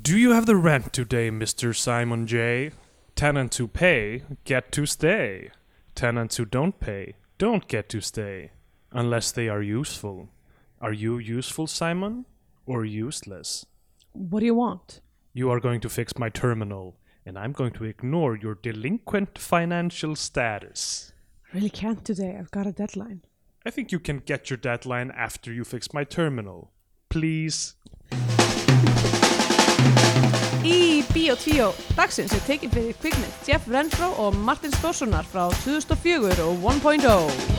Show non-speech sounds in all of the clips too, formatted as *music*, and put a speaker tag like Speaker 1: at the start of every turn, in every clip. Speaker 1: Do you have the rent today, Mr. Simon J? Tenants who pay get to stay. Tenants who don't pay don't get to stay. Unless they are useful. Are you useful, Simon? Or useless?
Speaker 2: What do you want?
Speaker 1: You are going to fix my terminal, and I'm going to ignore your delinquent financial status.
Speaker 2: I really can't today. I've got a deadline.
Speaker 1: I think you can get your deadline after you fix my terminal. Please.
Speaker 3: Í Bíó 2 dagsins er tekin fyrir kvikmynd Jeff Renfro og Martin Stórssonar frá 2004 og oh. 1.0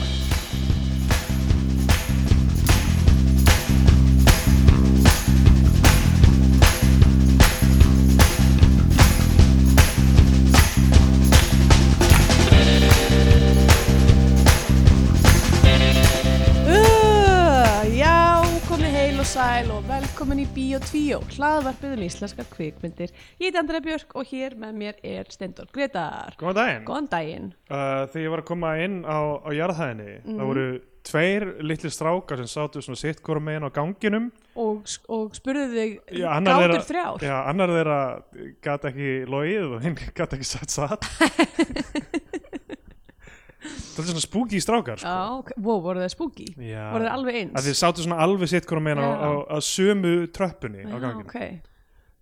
Speaker 3: Uh, Já, komið heil og sæl og velkomin í Bíó 2 hlaðvarpið um íslenskar kvikmyndir Ég heiti Andrea Björk og hér með mér er Steindor Gretar
Speaker 1: Góðan daginn.
Speaker 3: Góðan daginn
Speaker 1: Uh, þegar ég var að koma inn á, á jarðhæðinni,
Speaker 3: Mhm.
Speaker 1: það voru tveir litli strákar sem sátu svona sitt hvorum meginn á ganginum.
Speaker 3: Og, og spurðu þig
Speaker 1: Já, annar
Speaker 3: gátur
Speaker 1: þeirra-
Speaker 3: þrjár
Speaker 1: Já, annar þeirra gæti ekki logið og hinn *laughs* gæti ekki satt
Speaker 3: *laughs*
Speaker 1: satt. það er svona spooky strákar, sko.
Speaker 3: Já, ok, wow, voru það spooky?
Speaker 1: Já.
Speaker 3: Voru það alveg eins?
Speaker 1: Að þið sátu svona alveg sitt hvorum meginn á,
Speaker 3: Já.
Speaker 1: á, á sömu tröppunni á
Speaker 3: Já,
Speaker 1: ganginum.
Speaker 3: ok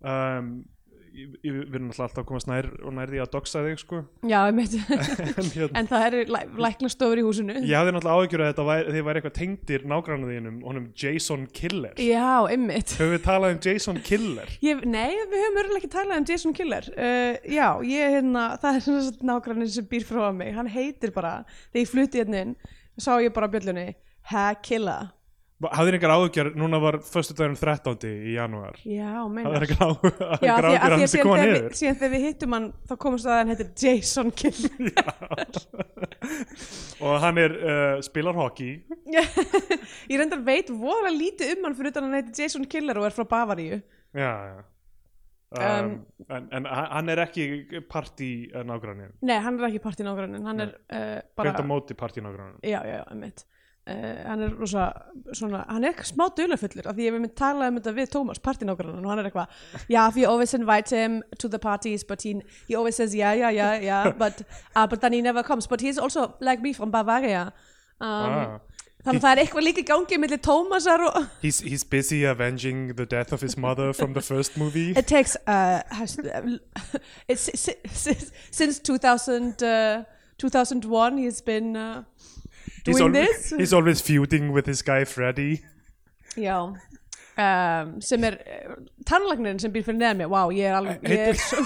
Speaker 1: Um, ég, ég, við erum náttúrulega alltaf að komast nær og nær því að doxa þig, sko.
Speaker 3: *laughs* Já, ég meit
Speaker 1: en, hérna,
Speaker 3: En það eru læ- læknastofur í húsinu
Speaker 1: ég hafði náttúrulega áhyggjur að þetta væri, þið væri eitthvað tengdir nágrannuðinum, honum Jason Killer.
Speaker 3: Já, einmitt
Speaker 1: Höfum við talað um Jason Killer?
Speaker 3: ég, Nei, við höfum örgulega ekki talað um Jason Killer uh, Já, ég hérna Það er svona nágrannin sem býr frá mig Hann heitir bara, þegar ég flutti hérna inn Sá ég bara á bjöllunni Ha Killa
Speaker 1: Hafði þið einhver áhyggjur, núna var föstudagurinn 13. í janúar.
Speaker 3: Já,
Speaker 1: Það er
Speaker 3: meinar
Speaker 1: ekki áhuga
Speaker 3: Mm. Já, af því- af
Speaker 1: að
Speaker 3: því að
Speaker 1: hann sé
Speaker 3: síðan
Speaker 1: koma
Speaker 3: þegar,
Speaker 1: niður
Speaker 3: við, síðan þegar við hittum hann þá komumst við að hann heitir Jason
Speaker 1: *laughs*
Speaker 3: Killer
Speaker 1: og hann er, uh, spilar hockey
Speaker 3: Ég reyndar veit voða lítið um hann fyrir utan að hann heitir Jason Killer og er frá Bavaríu
Speaker 1: já, já. Um, en, en hann hann er ekki partí nágrannin,
Speaker 3: Nei, hann er ekki partínágrannin, hann
Speaker 1: Nei.
Speaker 3: er uh,
Speaker 1: beint á
Speaker 3: bara
Speaker 1: móti partí nágrannin
Speaker 3: Já, já, já, einmitt Uh, hann er rosa, svona, hann er smá dulafullur af því ég við mynd tala um þetta við Tómas partínágrannan og hann er eitthvað yeah, we always invite him to the parties but he, he always says yeah, yeah, yeah, yeah *laughs* but, uh, but then he never comes but he's also like me from Bavaria um,
Speaker 1: ah.
Speaker 3: þannig að það er eitthvað líka í gangi millir Tómasar og
Speaker 1: he's, he's busy avenging the death of his mother from the first movie
Speaker 3: it takes uh, *laughs* has, it's, since, since 2000 uh, 2001 he's been uh,
Speaker 1: he's,
Speaker 3: doing
Speaker 1: always-
Speaker 3: this
Speaker 1: he's always feuding with his guy Freddy
Speaker 3: Já um, sem er tannlagnirinn sem býr fyrir neðan mér Vá, ég er alveg ég er *laughs* svo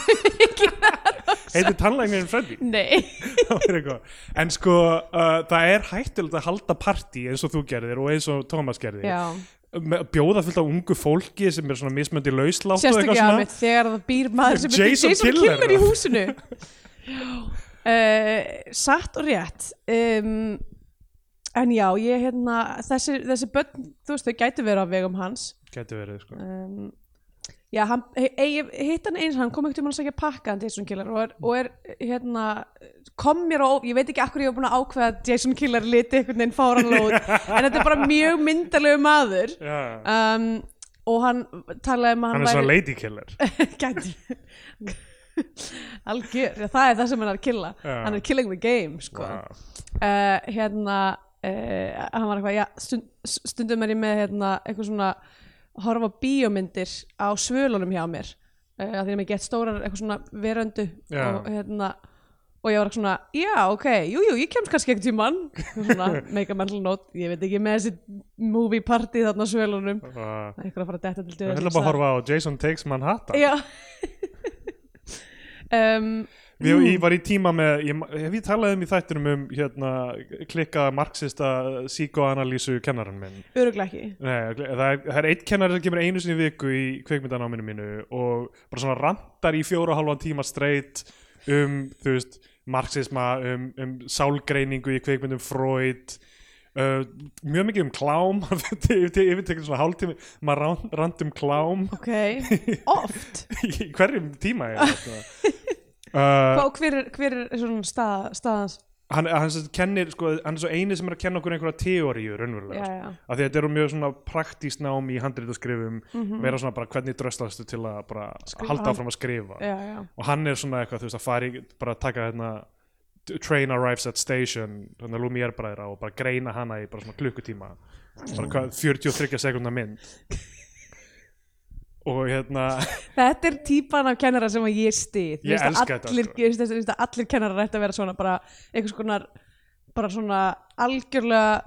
Speaker 1: heitir tannlægnirinn Freddy
Speaker 3: Nei
Speaker 1: *laughs* Það er eitthvað. en sko uh, það er hættilegt að halda partí eins og þú gerðir og eins og Thomas gerðir
Speaker 3: Já,
Speaker 1: Með- bjóða fullt af ungu fólki sem er svona mismöndi lauslátt og eitthvað
Speaker 3: sérstaklega
Speaker 1: svona
Speaker 3: mitt þegar það býr maður sem heitir
Speaker 1: Jason
Speaker 3: Jason
Speaker 1: Killer.
Speaker 3: Killer
Speaker 1: *laughs*
Speaker 3: í húsinu uh, Satt og rétt um, En já, ég hérna þessi, þessi börn, þú veist, þau gætu verið á vegum hans
Speaker 1: Gæti verið, sko.
Speaker 3: um, Já, hann, he, he, ég hitt hann eins, hann kom ekkert um hann að segja pakka hann Jason Killer og er, og er hérna, kom mér á, ég veit ekki akkur ég var búin að ákveða að Jason Killer liti einhvern veginn fáranlóð, en þetta er bara mjög myndalegu maður
Speaker 1: Já.
Speaker 3: um, og hann talaði um að
Speaker 1: Hann
Speaker 3: hann,
Speaker 1: er svona lady
Speaker 3: *laughs*
Speaker 1: killer.
Speaker 3: gæti *laughs* algjör, já, það er það sem hann er að killa
Speaker 1: Já.
Speaker 3: hann er killing the game sko.
Speaker 1: Vá.
Speaker 3: uh, hérna uh, hann var eitthvað, já, stund, stundum er ég með hérna, eitthvað svona horfa á bíómyndir á svölunum hjá mér uh, að þeir eru með gett stórar eitthvað svona veröndu
Speaker 1: Já.
Speaker 3: og hérna og ég var eitthvað svona, já, ok, jú, jú, ég kemst kannski ekkert í mann svona, make a mental note, ég veit ekki með þessi movie party þarna á svölunum
Speaker 1: Vá.
Speaker 3: Það er eitthvað að fara að detta til döðlis
Speaker 1: Ég ætla bara að horfa á Jason Takes Manhattan.
Speaker 3: Já *laughs* um,
Speaker 1: Ég, ég var í tíma með, ég, hef ég talað um í þættinum um hérna, klikka marxista eh, psíkoanalýsu kennaran minn.
Speaker 3: Öruglega ekki
Speaker 1: Nei, það er, það er eitt kennari sem kemur einu sinni í viku í kveikmyndanáminu mínu og bara svona rantar í fjóra og halvan tíma streitt um, þú veist, marxisma, um, um sálgreiningu í kveikmyndum Freud, uh, mjög mikið um klám, *laughs* yfir tekur svona hálftími, maður rand, rand um klám *laughs*
Speaker 3: Ok, oft
Speaker 1: í hverjum tíma ég,
Speaker 3: Hva, og hver er, hver er svona stað, staðans
Speaker 1: hann, hann, sem sagt kennir, sko, hann er svo eini sem er að kenna okkur einhverja teóriu raunverulega sko.
Speaker 3: Já, já.
Speaker 1: af því að þetta eru mjög svona praktískt nám í handritaskrifum vera svona bara hvernig dröslastu til að bara halda áfram að skrifa
Speaker 3: já, já,
Speaker 1: og hann er svona eitthvað þú veist að fara í bara að taka hérna train arrives at station þannig að Lumière bræðra og bara greina hana í bara svona klukkutíma bara hvað, 43 sekundar mynd og hérna
Speaker 3: Þetta er típan af kennara sem að ég stið
Speaker 1: Ég elska þetta,
Speaker 3: allir,
Speaker 1: sko.
Speaker 3: Ég veist að- veist að allir kennarar ætti að vera svona bara einhvers konar bara svona algjörlega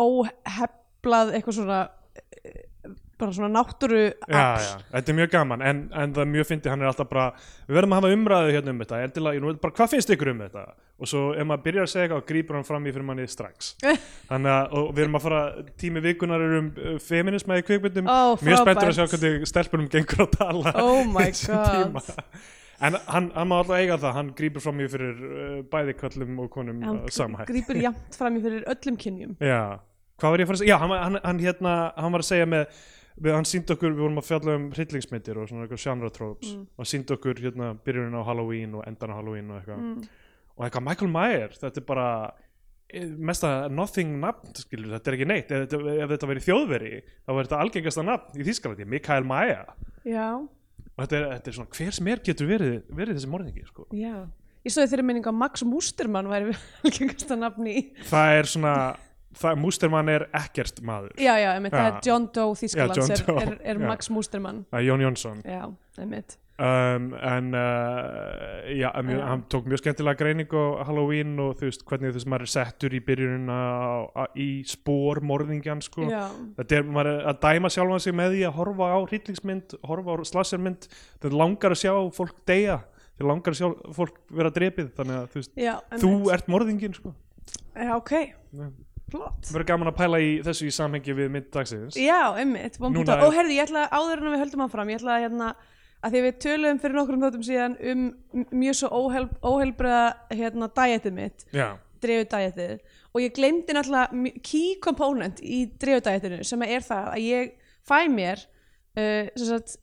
Speaker 3: óheflað eitthvað svona eh, bara svona náttúru
Speaker 1: já, já, þetta er mjög gaman en, en það er mjög fyndið, hann er alltaf bara við verðum að hafa umræðu hérna um þetta endilega, nú, bara, hvað finnst ykkur um þetta og svo ef maður byrjar að segja eitthvað, grýpur hann fram í fyrir manni
Speaker 3: *laughs*
Speaker 1: strax þannig að og við erum að fara, tími vikunar er um uh, feminisma í kvikmyndum
Speaker 3: Ó,
Speaker 1: mjög spenntur að sjá
Speaker 3: frábært.
Speaker 1: hvernig stelpunum gengur að tala *laughs*
Speaker 3: Oh
Speaker 1: í
Speaker 3: my
Speaker 1: þessum
Speaker 3: God.
Speaker 1: tíma. en hann, hann má alltaf eiga það hann grýpur fram í fyrir uh, bæði kvöllum og konum
Speaker 3: hann
Speaker 1: uh, samhætt
Speaker 3: grýpur jafnt fram í fyrir öllum kynjum
Speaker 1: Já, hvað var ég að fara að segja? Já, hann, var- hann, hann, hérna, hann var að segja með, við, hann síndi okkur, við vorum að fjalla um hryllingsmyndir og svona eitthvað genre tropes og hann síndi okkur hérna byrjunin á Halloween og endan á Halloween og eitthvað og eitthvað Michael Myers, þetta er bara eh, mesta nothing nafn skilur, þetta er ekki neitt, ef, þetta- ef þetta verið þjóðveri þá verður þetta algengasta nafn í Þýskalandi Mikael Maja
Speaker 3: Já,
Speaker 1: og þetta er, þetta er svona, hver sem er getur verið, verið þessi morðingi, sko
Speaker 3: já Ég stóði þeirri minningu að Max Mústermann væri *laughs* velkengasta nafni í
Speaker 1: það er svona, það, Mústermann er ekkert maður,
Speaker 3: Já, já, einmitt, það
Speaker 1: Já.
Speaker 3: er John Doe Þýskalands
Speaker 1: John
Speaker 3: er,
Speaker 1: Doe,
Speaker 3: er, er
Speaker 1: já.
Speaker 3: Max Mústermann
Speaker 1: Það er Jón Jónsson
Speaker 3: Já, einmitt
Speaker 1: um, en uh, já, mjö,
Speaker 3: Já.
Speaker 1: hann tók mjög skemmtilega greining á Halloween og þú veist hvernig þess maður er settur í byrjunina á- á- í spór morðingjan sko
Speaker 3: Já,
Speaker 1: þetta er maður er að dæma sjálfan sig með því að horfa á hryllingsmynd, horfa á slassermynd þetta langar að sjá fólk deyja þetta langar að sjá fólk vera drepið þannig að þú veist,
Speaker 3: já,
Speaker 1: þú ert morðingin sko
Speaker 3: Já, ok,
Speaker 1: Já.
Speaker 3: flott
Speaker 1: verður gaman að pæla í þessu í samhengi við mynd dagsins
Speaker 3: Já, einmitt, von
Speaker 1: Núna
Speaker 3: búta
Speaker 1: er-
Speaker 3: Og herði, ég ætla að áður en við höldum hann fram Ég ætla að hérna að því að við töluðum fyrir nokkrum þáttum síðan um m- mjög svo óhel, óhelbreða hérna dæjætið mitt,
Speaker 1: já,
Speaker 3: drefudæjætið og ég glemdi náttúrulega mj- key component í drefudæjætinu sem er það að ég fæ mér uh, sem sagt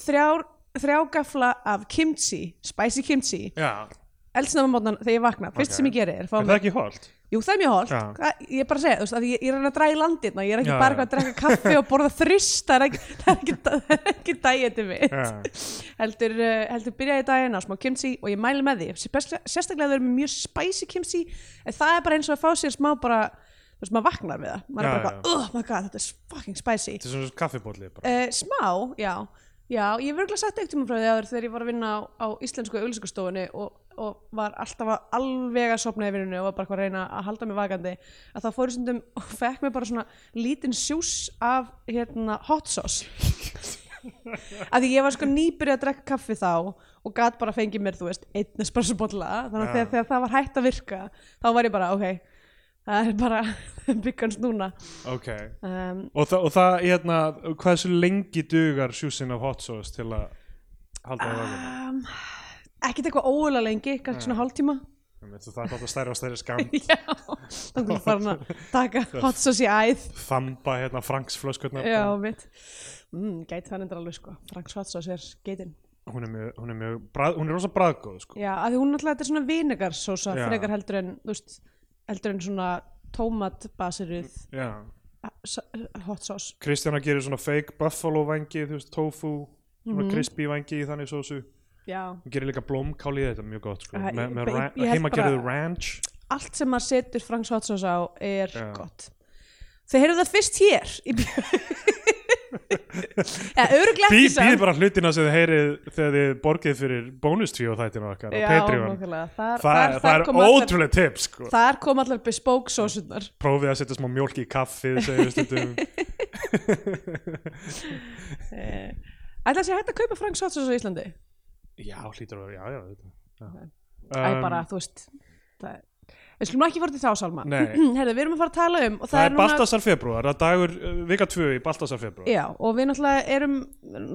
Speaker 3: þrjár, þrjá gafla af kimchi, spicy kimchi
Speaker 1: já.
Speaker 3: eldsnæma mótnan þegar ég vakna, fyrst
Speaker 1: Ok.
Speaker 3: sem ég geri er að fá
Speaker 1: er
Speaker 3: mér
Speaker 1: það ekki hólt?
Speaker 3: Jú, það er mjög holdt,
Speaker 1: Já.
Speaker 3: Hvað- ég er bara að segja, þú veist, að ég, ég er að reyna að draga í landirna, ég er ekki
Speaker 1: Já, já.
Speaker 3: bara eitthvað að drekka kaffi og borða þrist, það er ekki, *laughs* það er ekki, það er ekki dæjandi mitt.
Speaker 1: Já.
Speaker 3: Heldur, uh, heldur byrja í daginn á smá kimchi og ég mæli með því, Sérstaklega- sérstaklega þau eru með mjög spicy kimchi, en það er bara eins og að fá sér smá bara, þú veist, maður vaknar við það, maður
Speaker 1: Já,
Speaker 3: er bara,
Speaker 1: já.
Speaker 3: eitthvað, oh my god, þetta er fucking spicy.
Speaker 1: þetta er svona kaffibólli bara
Speaker 3: Uh, smá, já Já, ég hef örgulega sagt eitt tíma frá því áður þegar ég var að vinna á, á íslensku auðlýsingastofunni og, og var alltaf að alveg að sopna í vinnunni og var bara eitthvað að reyna að halda mig vakandi að þá fór ég stundum og fekk mér bara svona lítinn sjús af hérna, hot sauce að því ég var sko nýbyrjuð að drekka kaffi þá og gat bara fengið mér, þú veist, einn espresso þannig
Speaker 1: Já.
Speaker 3: að þegar, þegar það var hægt að virka þá var ég bara, ok, það er bara *laughs* byggans núna
Speaker 1: ok
Speaker 3: um,
Speaker 1: Og, þa og það, hérna, hversu lengi dugar sjúsin af hot sauce til að halda það vakandi?
Speaker 3: um, ekkert eitthvað óulega lengi kannski svona hálftíma *laughs*
Speaker 1: Einmitt, og Það er alltaf stærri og stærri skam
Speaker 3: já, þannig að farin að taka hot sauce í æð
Speaker 1: Þamba, hérna, Franks flöskutna
Speaker 3: já, mitt mm, gæti það endur alveg sko, Franks hot sauce er geitin
Speaker 1: Hún er mjög, hún er mjög, brað, hún er rosa bræðgóð, sko
Speaker 3: já, af því hún náttúrulega þetta er svona vinegarsósa
Speaker 1: Já.
Speaker 3: frekar heldur en, þú veist heldur en svona tómatbasiruð
Speaker 1: Já
Speaker 3: eh, hot sauce
Speaker 1: Kristjana gerir svona fake buffalo vangi, þú veist, tofu Svona
Speaker 3: Mhm.
Speaker 1: crispy vangi í þannig sósu
Speaker 3: já,
Speaker 1: Hún gerir líka blómkál í þetta, mjög gott, sko
Speaker 3: Æ,
Speaker 1: Með, með
Speaker 3: ég-
Speaker 1: ra-
Speaker 3: ég held
Speaker 1: heimagerðu
Speaker 3: bara-
Speaker 1: ranch
Speaker 3: allt sem maður setur Franks hot sauce á er
Speaker 1: Já.
Speaker 3: gott þið heyrðu það fyrst hér í björn *laughs* Já, öruglega
Speaker 1: Bý,
Speaker 3: ekki
Speaker 1: Býð bara hlutina sem þið heyrið þegar þið borgið fyrir bónustvíu þættinu okkar á
Speaker 3: Já,
Speaker 1: Patreon
Speaker 3: nákvæmlega. Þar,
Speaker 1: Það, það er
Speaker 3: kom allar-
Speaker 1: ótrúlega tips, sko
Speaker 3: Þar kom allar bespoke sósunar
Speaker 1: prófið að setja smá mjólk í kaffið segir við
Speaker 3: *laughs*
Speaker 1: stundum
Speaker 3: Ætla að sé Eh, hægt að kaupa Frank Sotsas á Íslandi
Speaker 1: já, hlýtur að vera, já, já, þetta, já.
Speaker 3: Æ,
Speaker 1: Um,
Speaker 3: bara, þú veist það... Við skulum nú ekki fara til þá, Salma *clears throat*
Speaker 1: Nei.
Speaker 3: Herðu, við erum að fara að tala um og það,
Speaker 1: það, er Baltasar februar, það er dagur uh, vika 2 í Baltasar februar
Speaker 3: Já, og við náttúrulega erum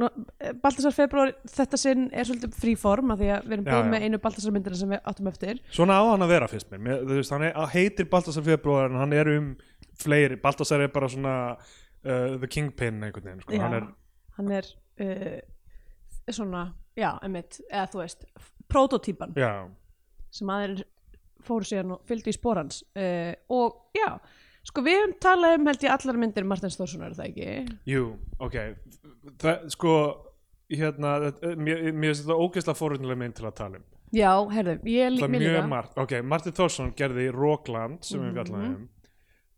Speaker 3: nú- eh, Baltasar februar, þetta sinn er svolítið fríform af því að við erum
Speaker 1: Já,
Speaker 3: búin
Speaker 1: já.
Speaker 3: með einu Baltasar myndina sem við áttum eftir
Speaker 1: svona á hann að vera fyrst mér, mér þú veist, hann er, hann heitir Baltasar februar en hann er um fleiri, Baltasar er bara svona uh, the kingpin einhvern veginn, sko.
Speaker 3: Já,
Speaker 1: hann er
Speaker 3: hann er uh, svona, já, einmitt eða þú veist, prototípan
Speaker 1: já,
Speaker 3: sem aðeins fóru síðan og fylgdu í spórans uh, og já, sko við höfum talað um held ég allar myndir Martins Þórssonar er það ekki?
Speaker 1: Jú, ok Það, sko, hérna eh, mér mér finnst þetta ógeðslega fórhundilega mynd til að tala um
Speaker 3: Já, herðu, ég
Speaker 1: Það
Speaker 3: líka
Speaker 1: er mjög margt, ok, Martin Thorsson gerði Rókland sem
Speaker 3: Mhm.
Speaker 1: við fjallaði um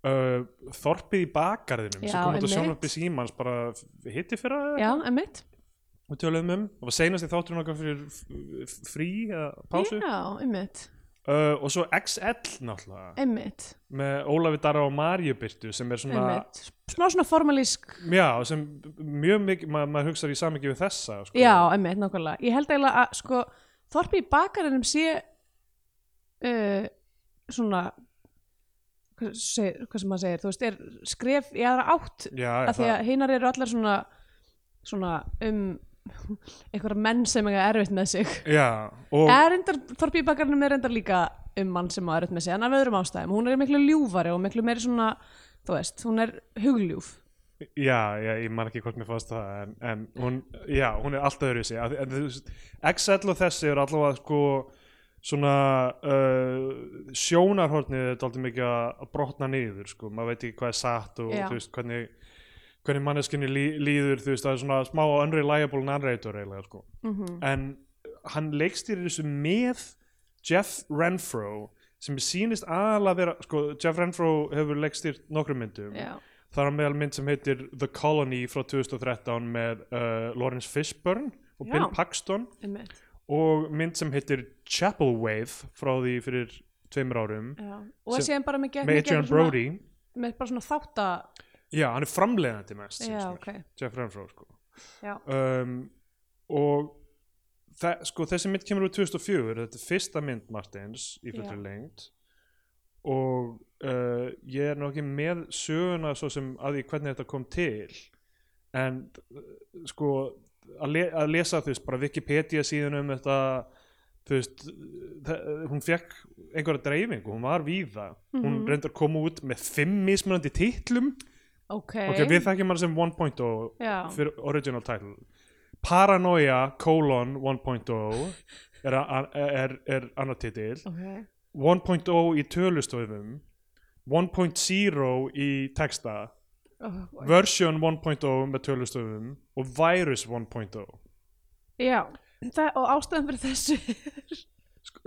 Speaker 1: uh, Þorpið í bakgarðinum sem
Speaker 3: Já,
Speaker 1: kom út á
Speaker 3: einmitt.
Speaker 1: sjónvarpi símans bara hitti fyrir að
Speaker 3: Já, emmitt
Speaker 1: við töluðum um það var seinast í þátturinn okkar fyrir f- f- frí eða pásu
Speaker 3: Já, emmitt,
Speaker 1: uh, og svo XL náttúrulega
Speaker 3: emmitt,
Speaker 1: með Ólafi Dara og Marju Byrtu sem er svona
Speaker 3: emmitt Smá svona formalísk
Speaker 1: já, sem mjög mikið, ma maður hugsar í samingi við þessa sko.
Speaker 3: Já, emmitt, nákvæmlega Ég held eiginlega að sko Þorpi í bakarinnum sé uh, svona hvað, segir, hvað sem maður segir, þú veist, er skref í aðra átt
Speaker 1: já
Speaker 3: af því að hinar eru allar svona svona um einhverja menn sem eiga erfitt með sig
Speaker 1: já, og
Speaker 3: er reyndar, Þorpi í bakarinnum er reyndar líka um mann sem á erfitt með sig, en af öðrum ástæðum hún er miklu ljúfari og miklu meiri svona þú veist, hún er hugljúf
Speaker 1: Já, já, ég man ekki hvort mér fannst það en, en hún, já, hún er alltaf öðru í sig en þú veist, XL og þessi eru allavega sko svona uh, sjónarhornið er daldið mikið að að brotna niður sko, maður veit ekki hvað er satt og
Speaker 3: Já.
Speaker 1: þú veist, hvernig hvernig manneskinni lí, líður, þú veist, það er svona smá unreliable narrator eiginlega sko
Speaker 3: Mhm.
Speaker 1: en hann leikstýrir þessu með Jeff Renfro sem sýnist aðalega vera, sko, Jeff Renfro hefur leikstýrt nokkrum myndum
Speaker 3: Já,
Speaker 1: Það er á meðal mynd sem heitir The Colony frá 2013 með uh, Lawrence Fishburne og
Speaker 3: Já.
Speaker 1: Bill Paxton
Speaker 3: einmitt
Speaker 1: og mynd sem heitir Chapel Wave frá því fyrir tveimur árum
Speaker 3: Já. og
Speaker 1: Sem-
Speaker 3: síðan bara með gegn
Speaker 1: með Adrian Brody.
Speaker 3: með bara svona þátta
Speaker 1: Já, hann er framleiðandi mest,
Speaker 3: já,
Speaker 1: sýnist mér.
Speaker 3: ok
Speaker 1: Jeff Renfro sko.
Speaker 3: já,
Speaker 1: um, og það, sko, þessi mynd kemur úr 2004 þetta er fyrsta mynd Martins í fullri
Speaker 3: Já.
Speaker 1: lengd og uh, ég er nú ekki með söguna svo sem að því hvernig þetta kom til en uh, sko að, le að lesa þú veist bara Wikipedia síðan um þetta þú veist þa- hún fekk einhverja dreifingu, hún var víða hún reyndar kom út með fimm mismunandi titlum
Speaker 3: ok,
Speaker 1: ok, við þekkjum hann sem 1.0
Speaker 3: já,
Speaker 1: fyrir original title Paranoia colon 1.0 er, a- er, er annar titil
Speaker 3: ok
Speaker 1: 1.0 í tölustofum 1.0 í texta
Speaker 3: oh,
Speaker 1: version 1.0 með tölustofum og virus oh. 1.0
Speaker 3: já, það, og ástæðan fyrir þessu
Speaker 1: *laughs*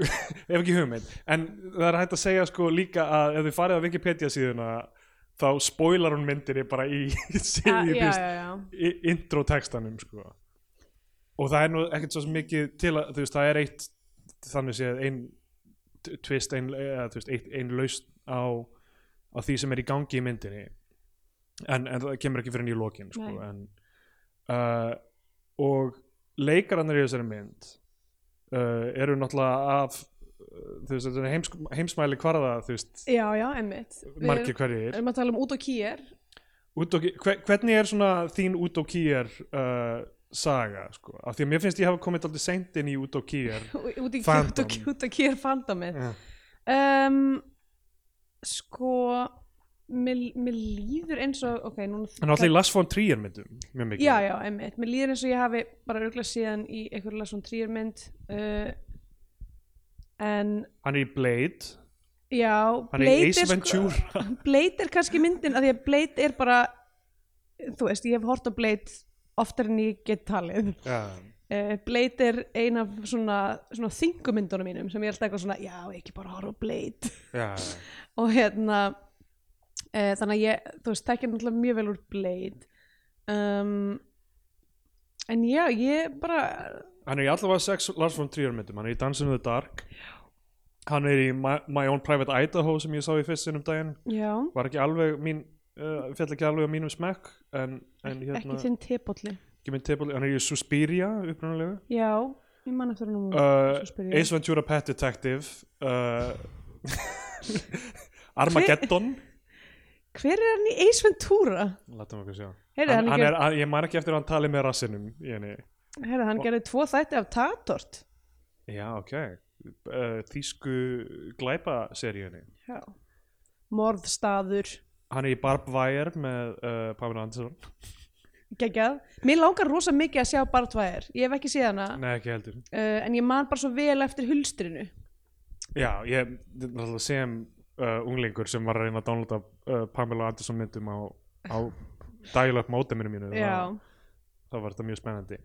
Speaker 1: ef ekki hugmynd en það er hægt að segja sko líka að ef þið farið á Wikipedia síðuna þá spoilar hún myndinni bara í, *laughs* í,
Speaker 3: já,
Speaker 1: í,
Speaker 3: já,
Speaker 1: í
Speaker 3: já, já,
Speaker 1: í- intro textanum sko. og það er nú ekkert svo sem mikið til að, þú veist, það er eitt þannig séð ein t- twist, ein, eða, þú veist, ein, ein laust á, á því sem er í gangi í myndinni en, en það kemur ekki fyrir nýju lokin sko,
Speaker 3: Nei.
Speaker 1: en, uh, og leikarannir í þessari mynd uh, eru náttúrulega af uh, þú veist, þetta er heims, heimsmæli hvarða þú veist,
Speaker 3: já, já, emmitt við
Speaker 1: margir
Speaker 3: erum,
Speaker 1: hverjir
Speaker 3: erum að tala um út og kýr
Speaker 1: Útóki, hver, hvernig er svona þín Utókýjar uh, saga sko? af því að mér finnst ég hafa komið alltaf seint inn í Utókýjar
Speaker 3: út í
Speaker 1: Fandom.
Speaker 3: út og, út og kýr fandomið
Speaker 1: Já.
Speaker 3: um, sko mér, mér líður eins og ok, núna
Speaker 1: en alltaf í Lars von Trier myndum mjög mikið
Speaker 3: já, já, einmitt, mér líður eins og ég hafi bara örgla síðan í einhverju lasum trýjarmynd uh, en
Speaker 1: hann er í Blade,
Speaker 3: já
Speaker 1: hann er í Ace
Speaker 3: sko,
Speaker 1: Ventura
Speaker 3: *laughs* Blade er kannski myndin af því að Blade er bara þú veist, ég hef hort á Blade oftar en ég get talið
Speaker 1: já.
Speaker 3: uh, Blade er ein af svona, svona þingumyndunum mínum sem ég er alltaf eitthvað svona, já, ekki bara horfa á Blade
Speaker 1: Já.
Speaker 3: og hérna uh, þannig að ég, þú veist, tekja náttúrulega mjög vel úr Blade um, en já, ég bara
Speaker 1: hann er í allavega sex Lars von Trier myndum hann er í Dancing in the Dark hann er í My, My Own Private Idaho sem ég sá í fyrst sinnum daginn
Speaker 3: Já,
Speaker 1: var ekki alveg mín uh, fjall ekki alveg á mínum smekk en, en
Speaker 3: ekki
Speaker 1: hérna,
Speaker 3: þinn tepolli
Speaker 1: ekki minn tepul hann er í Suspiria upprunalega
Speaker 3: Já, ég man eftir hann
Speaker 1: uh,
Speaker 3: Svo spyr ég.
Speaker 1: Ace Ventura Pet Detective uh, *laughs* Armageddon
Speaker 3: Hver er hann í Ace Ventura?
Speaker 1: Látum okkur sjá
Speaker 3: Heyrðu,
Speaker 1: hann,
Speaker 3: hann
Speaker 1: hann
Speaker 3: ger-
Speaker 1: er, hann, Ég man ekki eftir að hann tali með rassinum í henni
Speaker 3: Herra, hann gerði tvo þætti af Tatort
Speaker 1: Já, ok uh, Þýsku glæpa seríunni
Speaker 3: Já Morðstaður,
Speaker 1: Hann er í Barb Wire með uh, Pamela Anderson
Speaker 3: geggjað Mér langar rosa mikið að sjá Bartvæðir Ég hef ekki séð hana uh,
Speaker 1: Nei, ekki heldur
Speaker 3: En ég man bara svo vel eftir hulstrinu
Speaker 1: Já, ég náttúrulega sem uh, unglingur sem var að reyna að downloada uh, Pamela Anderson myndum á, á dægilegt móteminu mínu
Speaker 3: Já,
Speaker 1: það, það var þetta mjög spennandi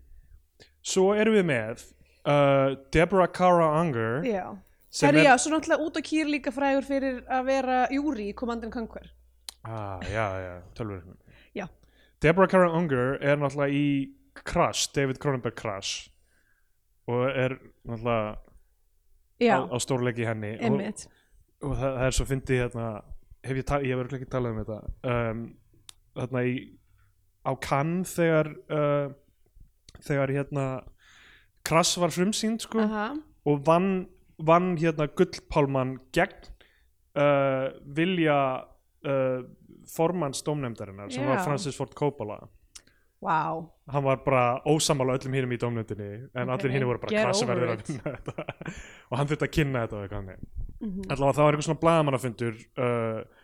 Speaker 1: Svo erum við með uh, Deborah Cara Unger
Speaker 3: já.
Speaker 1: sem
Speaker 3: Herri,
Speaker 1: er-
Speaker 3: já, svo náttúrulega út og kýr líka frægur fyrir að vera júri í Command Conquer.
Speaker 1: ah, Já, já, tölvur
Speaker 3: Já.
Speaker 1: Deborah Cara Unger er náttúrulega í Crash, David Cronenberg Crash og er náttúrulega
Speaker 3: Já,
Speaker 1: á, á stórleiki í henni og,
Speaker 3: einmitt.
Speaker 1: og það, það er svo fyndið hérna hef ég, tal, ég hef örugglega ekki talað um þetta um, þarna í á Cannes þegar uh, þegar hérna Krass var frumsýnd sko
Speaker 3: Aha.
Speaker 1: og vann, vann hérna gullpálman gegn uh, vilja uh, formanns dómnefndarinnar sem var
Speaker 3: Já.
Speaker 1: Francis Ford Coppola
Speaker 3: Vá.
Speaker 1: hann var bara ósamála öllum hinum í dómnefndinni en
Speaker 3: Ok,
Speaker 1: allir hinum voru bara
Speaker 3: get
Speaker 1: Krass
Speaker 3: over
Speaker 1: verður að
Speaker 3: it."
Speaker 1: vinna þetta *laughs* og hann þurfti að kynna þetta og eitthvað hannig
Speaker 3: Mhm.
Speaker 1: allavega það var eitthvað svona blagamannafundur uh,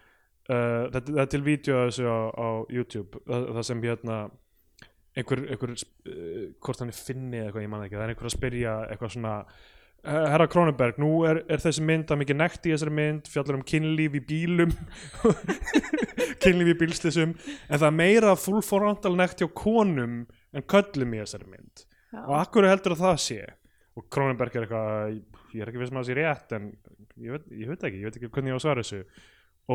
Speaker 1: uh, það, það er til vídeo af þessu á, á YouTube það, það sem hérna einhver, einhver uh, hvort hann er finni eða eitthvað, ég man það ekki, það er einhver að spyrja eitthvað svona "Eh, Herra Kronenberg, nú er, er þessi mynd að mikið nekt í þessari mynd, fjallar um kynlíf í bílum *laughs* kynlíf í bílslýsum en það er meira full frontal nekt hjá konum en köllum í þessari mynd
Speaker 3: Já.
Speaker 1: og akkur heldur að það sé og Kronenberg er eitthvað ég er ekki viss maður að það sé rétt en ég veit, ég veit ekki, ég veit ekki hvernig ég á að svara þessu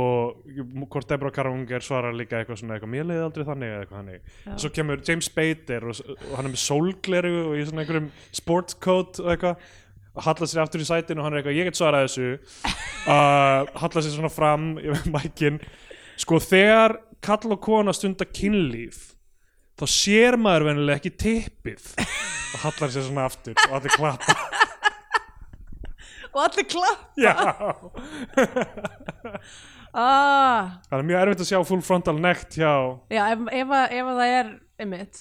Speaker 1: og hvort Deborah Karunger svarar líka eitthvað svona eitthvað, mér leiði aldrei þannig eða eitthvað þannig,
Speaker 3: Já.
Speaker 1: svo kemur James Spader og, og hann er með sólgleru og í svona einhverjum sportcoat og eitthvað og hallar sér aftur í sætin og hann er eitthvað, ég get svarað þessu
Speaker 3: *laughs*
Speaker 1: uh, hallar sér svona fram yfir mækin sko þegar kall og kona stunda kynlíf þá sér maður venilega ekki tippið og hallar sér svona aftur og allir klappa *laughs*
Speaker 3: Og allir klapp.
Speaker 1: Já.
Speaker 3: Ah.
Speaker 1: það er mjög erfitt að sjá full frontal nekt hjá
Speaker 3: Já, ef, ef, að- ef að það er, einmitt.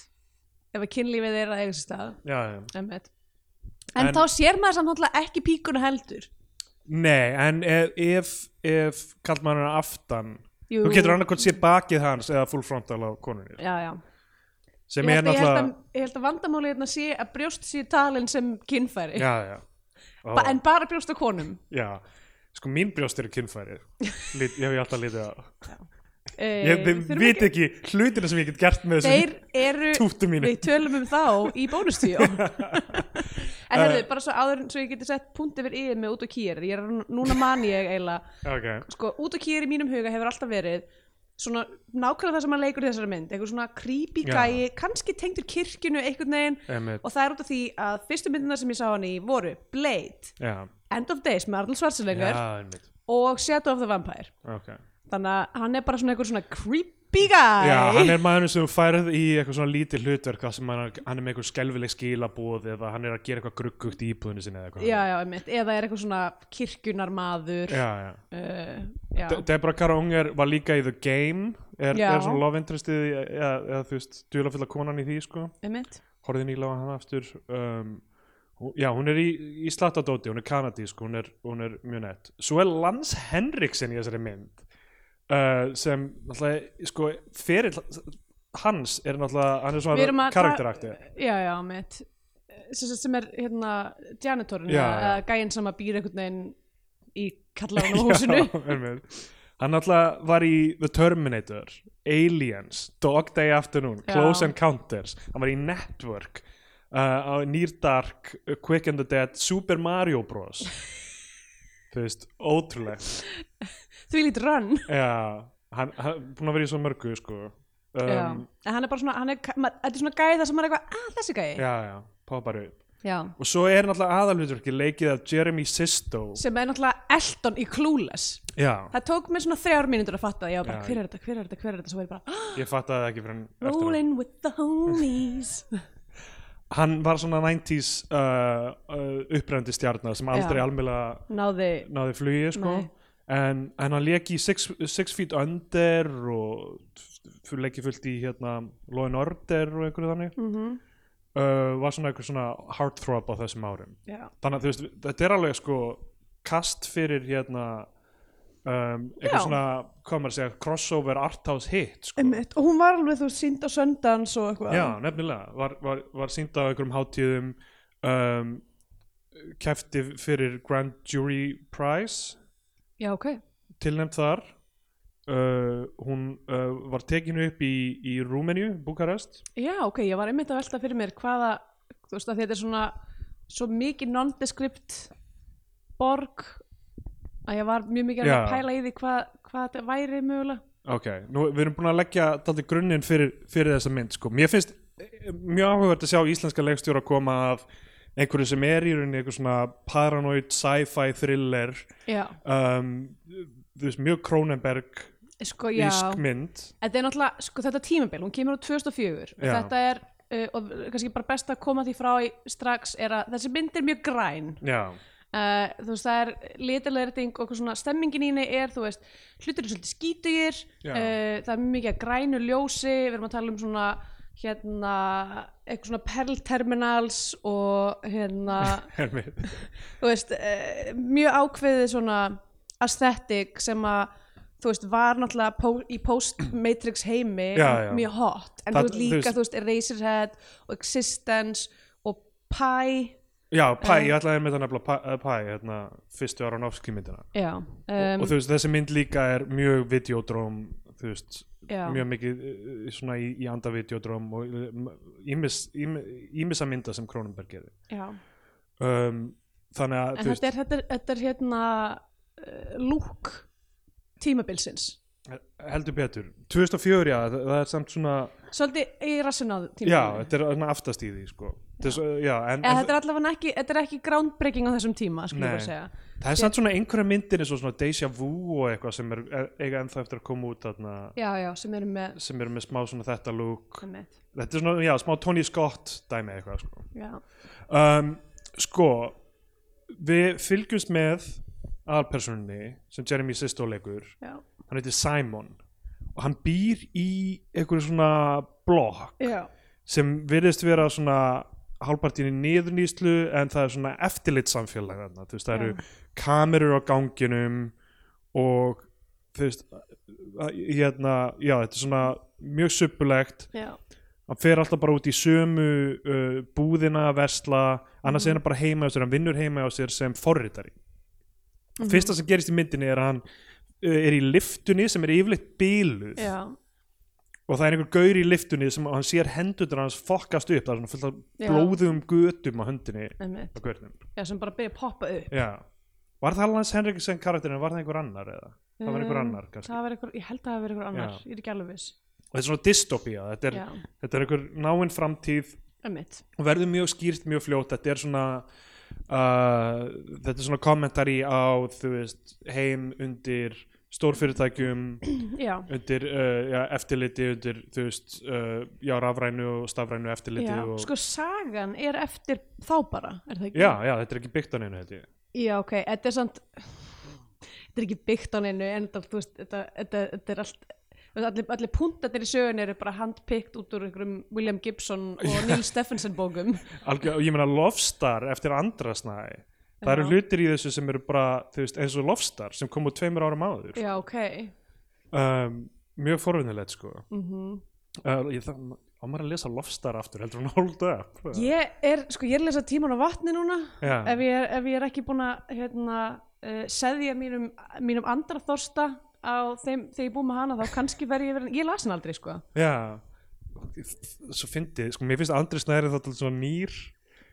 Speaker 3: Ef að kynlífið er að eiga sér stað,
Speaker 1: já, já.
Speaker 3: einmitt. En,
Speaker 1: En-
Speaker 3: þá sér maður samt náttúrulega ekki píkuna heldur.
Speaker 1: nei, en ef ef, ef kall maður hann aftan
Speaker 3: Jú.
Speaker 1: þú getur annarkvæmt sér bakið hans eða full frontal á konunni
Speaker 3: Já, já.
Speaker 1: sem
Speaker 3: Ég
Speaker 1: er
Speaker 3: held, ég, held
Speaker 1: náttúrulega
Speaker 3: að, ég held að vandamáli hérna sé að brjóst sé talin sem kynfæri.
Speaker 1: já, já. Ó.
Speaker 3: *laughs* Ba en bara brjóst á konum.
Speaker 1: Já, sko mín brjóst eru kynfæri
Speaker 3: *laughs*
Speaker 1: Lít, Ég hef ég alltaf litið á
Speaker 3: Eh,
Speaker 1: Ég
Speaker 3: við
Speaker 1: þið
Speaker 3: þurfum
Speaker 1: veit ekki hlutina sem ég get gert með
Speaker 3: Þeir
Speaker 1: þessum
Speaker 3: eru,
Speaker 1: túttum mínu
Speaker 3: við tölum um þá í
Speaker 1: *laughs*
Speaker 3: bónustíó. en
Speaker 1: Eh.
Speaker 3: hefðu, bara svo áður en svo ég geti sett punkt yfir yfir með út og kýr. Ég er, núna man ég eiginlega,
Speaker 1: okay.
Speaker 3: sko, út og kýr í mínum huga hefur alltaf verið svona nákvæmlega það sem hann leikur í þessari mynd. Eitthvað svona creepy
Speaker 1: Já. Eh.
Speaker 3: gæi, kannski tengdur kirkjunu einhvern veginn.
Speaker 1: Einmitt.
Speaker 3: Og það er út af því að fyrstu myndina sem ég sá hann í voru Blade,
Speaker 1: Já,
Speaker 3: End of Days með Arnold Schwarzenegger
Speaker 1: já, einmitt
Speaker 3: og Shadow of the Vampire
Speaker 1: okay.
Speaker 3: þannig að hann er bara svona einhver svona creepy guy
Speaker 1: Já, hann er maður sem þú færð í eitthvað svona lítið hlutverk þar sem hann er, hann er með eitthvað skelfileg skilabóð eða hann er að gera eitthvað gruggugt í íbúðinu sinni eða eitthvað
Speaker 3: já, já, einmitt. eða er eitthvað svona kirkjunar maður
Speaker 1: já, já.
Speaker 3: Eh, já.
Speaker 1: De Deborah Karaunger var líka í The Game er,
Speaker 3: Já.
Speaker 1: er svona love interestið í- eða, eða þú veist, duðlafulla konan í því sko
Speaker 3: einmitt
Speaker 1: horfið nýlega á hann aftur um, hú- já, hún er í, í Slatadóti, hún er kanadísk, hún er, hún er mjög nett. Svo er Lance Henriksen í þessari mynd uh, sem náttúrulega, sko, fyrir hans er náttúrulega hann er
Speaker 3: Við erum
Speaker 1: svona
Speaker 3: að-
Speaker 1: karakterakti
Speaker 3: já, já, einmitt Eh, sem, sem- sem er hérna janitorinn
Speaker 1: Já,
Speaker 3: eða
Speaker 1: já.
Speaker 3: gæinn sem að býr einhvern veginn í
Speaker 1: *laughs*
Speaker 3: kallarinn á húsinu
Speaker 1: hann náttúrulega var í The Terminator, Aliens Dog Day Afternoon,
Speaker 3: Já.
Speaker 1: Close Encounters hann var í Network uh, á Near Dark, Quick and the Dead Super Mario
Speaker 3: *laughs*
Speaker 1: Bros þú veist, ótrúlegt
Speaker 3: því lít run
Speaker 1: Já, hann, hann búin að vera í svo mörgu sko
Speaker 3: já.
Speaker 1: um,
Speaker 3: en hann er bara svona hann er, ka- ma- þetta er svona gæi það sem er eitthvað að þessi gæi
Speaker 1: Já, já, poppar upp
Speaker 3: Já.
Speaker 1: Og svo er náttúrulega aðalhutverki leikið af Jeremy
Speaker 3: *gasps*
Speaker 1: Sisto
Speaker 3: sem er náttúrulega Elton í Clueless
Speaker 1: Já,
Speaker 3: það tók mér svona þrjár mínútur að fatta það. ég var bara
Speaker 1: Já.
Speaker 3: hver er þetta, hver er þetta, hver er þetta svo var ég bara
Speaker 1: ég fattaði það ekki fyrir hann eftir á.
Speaker 3: Rolling with the homies
Speaker 1: Hann var svona 90s uh, uh, upprennandi stjarnar sem aldrei
Speaker 3: Já.
Speaker 1: almjölega
Speaker 3: Náði
Speaker 1: náði flugi sko
Speaker 3: Nei.
Speaker 1: en, en hann leik í six, six Feet Under og f- leiki fullt í hérna Law and Order og einhverju þannig mm
Speaker 3: Mhm.
Speaker 1: -hmm. uh, var svona einhver svona heartthrob á þessum árum
Speaker 3: Já,
Speaker 1: þannig að þú veist, þetta er alveg sko kast fyrir hérna um,
Speaker 3: Já.
Speaker 1: eitthvað svona, hvað maður að segja crossover arthouse hit sko.
Speaker 3: einmitt, og hún var alveg þú sínd á söndans og eitthvað
Speaker 1: já, nefnilega, var, var, var sínd á einhverjum hátíðum um, kefti fyrir Grand Jury Prize
Speaker 3: Já, ok.
Speaker 1: tilnæmt þar uh, hún uh, var tekinu upp í, í Rúmeníu, Búkarest
Speaker 3: Já, ok, ég var einmitt að velta fyrir mér hvaða, þú veist, að þetta er svona svo mikið nondescript borg að ég var mjög mikið að
Speaker 1: Já.
Speaker 3: pæla í því hvað, hvað þetta væri mögulega.
Speaker 1: ok, nú við erum búin að leggja daldi grunninn fyrir, fyrir þessa mynd sko. mér finnst eh, mjög áhugavert að sjá íslenska leikstjóra koma að einhverju sem er í rauninni einhver svona paranoid sci-fi thriller
Speaker 3: Já,
Speaker 1: um, þú veist, mjög Cronenberg
Speaker 3: sko, já.
Speaker 1: ísk mynd
Speaker 3: Þetta er náttúrulega, sko, þetta tímabil, hún kemur á 2004 og
Speaker 1: Já.
Speaker 3: þetta er, uh, og kannski bara best að koma því frá í strax er að þessi mynd er mjög græn.
Speaker 1: já,
Speaker 3: Uh, þú veist, það er litilærting og eitthvað svona stemmingin í henni er, þú veist, hlutir er svolítið skítugir,
Speaker 1: Já.
Speaker 3: uh, það er mjög mikið að grænu ljósi, við erum að tala um svona, hérna, eitthvað svona perlterminals og hérna,
Speaker 1: *laughs* hermið
Speaker 3: þú veist, uh, mjög ákveðið svona aesthetic sem að, þú veist, var náttúrulega pó í post-matrix heimi
Speaker 1: Já, já.
Speaker 3: mjög hot, en
Speaker 1: Það-
Speaker 3: þú
Speaker 1: þú
Speaker 3: veist
Speaker 1: veist-
Speaker 3: líka, þú veist, Eraserhead og Existence og Pie,
Speaker 1: Já,
Speaker 3: Eh.
Speaker 1: Pæ, ég ætlaði með það nefnilega Pie- eh, Pie, hérna, fyrstu Aronofsky myndina
Speaker 3: já, um,
Speaker 1: og þú veist, þessi mynd líka er mjög videodróm, þú veist
Speaker 3: Já.
Speaker 1: mjög mikið eh, svona í, í anda videodróm og eh, m- ýmis ými- ýmissa mynda sem Kronenberg gerir
Speaker 3: já.
Speaker 1: um, þannig að,
Speaker 3: En þetta er, þetta, er, þetta er hérna uh, lúk tímabilsins.
Speaker 1: er... heldur betur 2004, já, það, það er samt svona
Speaker 3: Svolítið í rassinu á tímabilsins.
Speaker 1: já, þetta er svona aftast í því, sko Þess, eh, já, en,
Speaker 3: Eða
Speaker 1: en
Speaker 3: þetta er allavega ekki, þetta er ekki groundbreaking á þessum tíma, skulum
Speaker 1: Nei.
Speaker 3: við bara segja.
Speaker 1: það er samt svona einhverja myndir eins og svona Deja Vu og eitthvað sem er eh, eiga ennþá eftir að koma út þarna
Speaker 3: Já, já, sem eru með,
Speaker 1: sem eru með smá svona þetta lúk
Speaker 3: með
Speaker 1: þetta er svona, já, smá Tony Scott dæmi eitthvað, sko
Speaker 3: já,
Speaker 1: um, sko við fylgjumst með aðalpersonunni sem Jeremy Sisto leikur
Speaker 3: já,
Speaker 1: hann heitir Simon og hann býr í einhverju svona blokk
Speaker 3: já,
Speaker 1: sem virðist vera svona hálpartinni niðurnýslu en það er svona eftirlitsamfélag þarna, þú veist, það
Speaker 3: Já.
Speaker 1: eru kamerur á ganginum og þú veist að- hérna, já, þetta er svona mjög suppulegt
Speaker 3: já,
Speaker 1: hann fer alltaf bara út í sömu uh, búðina að versla annars er hann bara heima á sér, hann vinnur heima á sér sem forritari
Speaker 3: Mhm.
Speaker 1: fyrsta sem gerist í myndinni er að hann uh, er í liftunni sem er yfirleitt bíluð
Speaker 3: Mhm. já,
Speaker 1: og það er einhver gaur í liftunni sem og hann sér hendutur hans fokkast upp það er svona fullt af
Speaker 3: Já.
Speaker 1: blóðum götum á höndinni
Speaker 3: einmitt.
Speaker 1: á gaurnum
Speaker 3: Já, sem bara byrja að poppa upp.
Speaker 1: já Var það Lance Henriksen karakterinn, var það einhver annar eða? Það var einhver
Speaker 3: Um,
Speaker 1: annar kannski.
Speaker 3: Það var einhver, ég held að það hafi verið einhver annar,
Speaker 1: Já.
Speaker 3: ég er ekki alveg viss.
Speaker 1: Og Þetta er svona dystopía, þetta er,
Speaker 3: Já,
Speaker 1: þetta er einhver náinn framtíð
Speaker 3: einmitt.
Speaker 1: og verður mjög skýrt mjög fljótt þetta er svona uh, þetta er svona kommentari á þú veist, heim undir stórfyrirtækjum *clears throat*
Speaker 3: Mhm. Já,
Speaker 1: undir uh, já, eftirliti undir þú veist, uh, já, rafrænu og stafrænu eftirliti
Speaker 3: já,
Speaker 1: og
Speaker 3: sko sagan er eftir þá bara, er það ekki?
Speaker 1: já, já, þetta er ekki byggt á neinu þetta
Speaker 3: Já, ok, þetta er samt þetta er ekki byggt á neinu en þetta, þú veist, þetta, þetta, þetta er allt þú veist, allir, allir puntatir í sögun eru bara handpikt út úr einhverjum William Gibson og Neil Stephenson *laughs* bókum
Speaker 1: Algjör, ég meina Lofstar eftir andrasnæði það eru
Speaker 3: Já.
Speaker 1: hlutir í þessu sem eru bara þú veist, eins og Lofstar sem kom úr tveimur árum áður
Speaker 3: Já, ok
Speaker 1: um, mjög forvinnilegt sko
Speaker 3: mm
Speaker 1: uh, ég þarf á maður að lesa Lofstar aftur heldur hún hold up
Speaker 3: Ég er, sko, ég er að lesa tíman á vatni núna
Speaker 1: Já.
Speaker 3: ef ég, er, ef ég er ekki búin að hérna, uh, seðja mínum, mínum andraþorsta á þeim, þegar ég búið með hana þá kannski verð ég verið, ég las hann aldrei, sko
Speaker 1: Já Svo fyndið, sko mér finnst Andri Snæri þá til svona nýr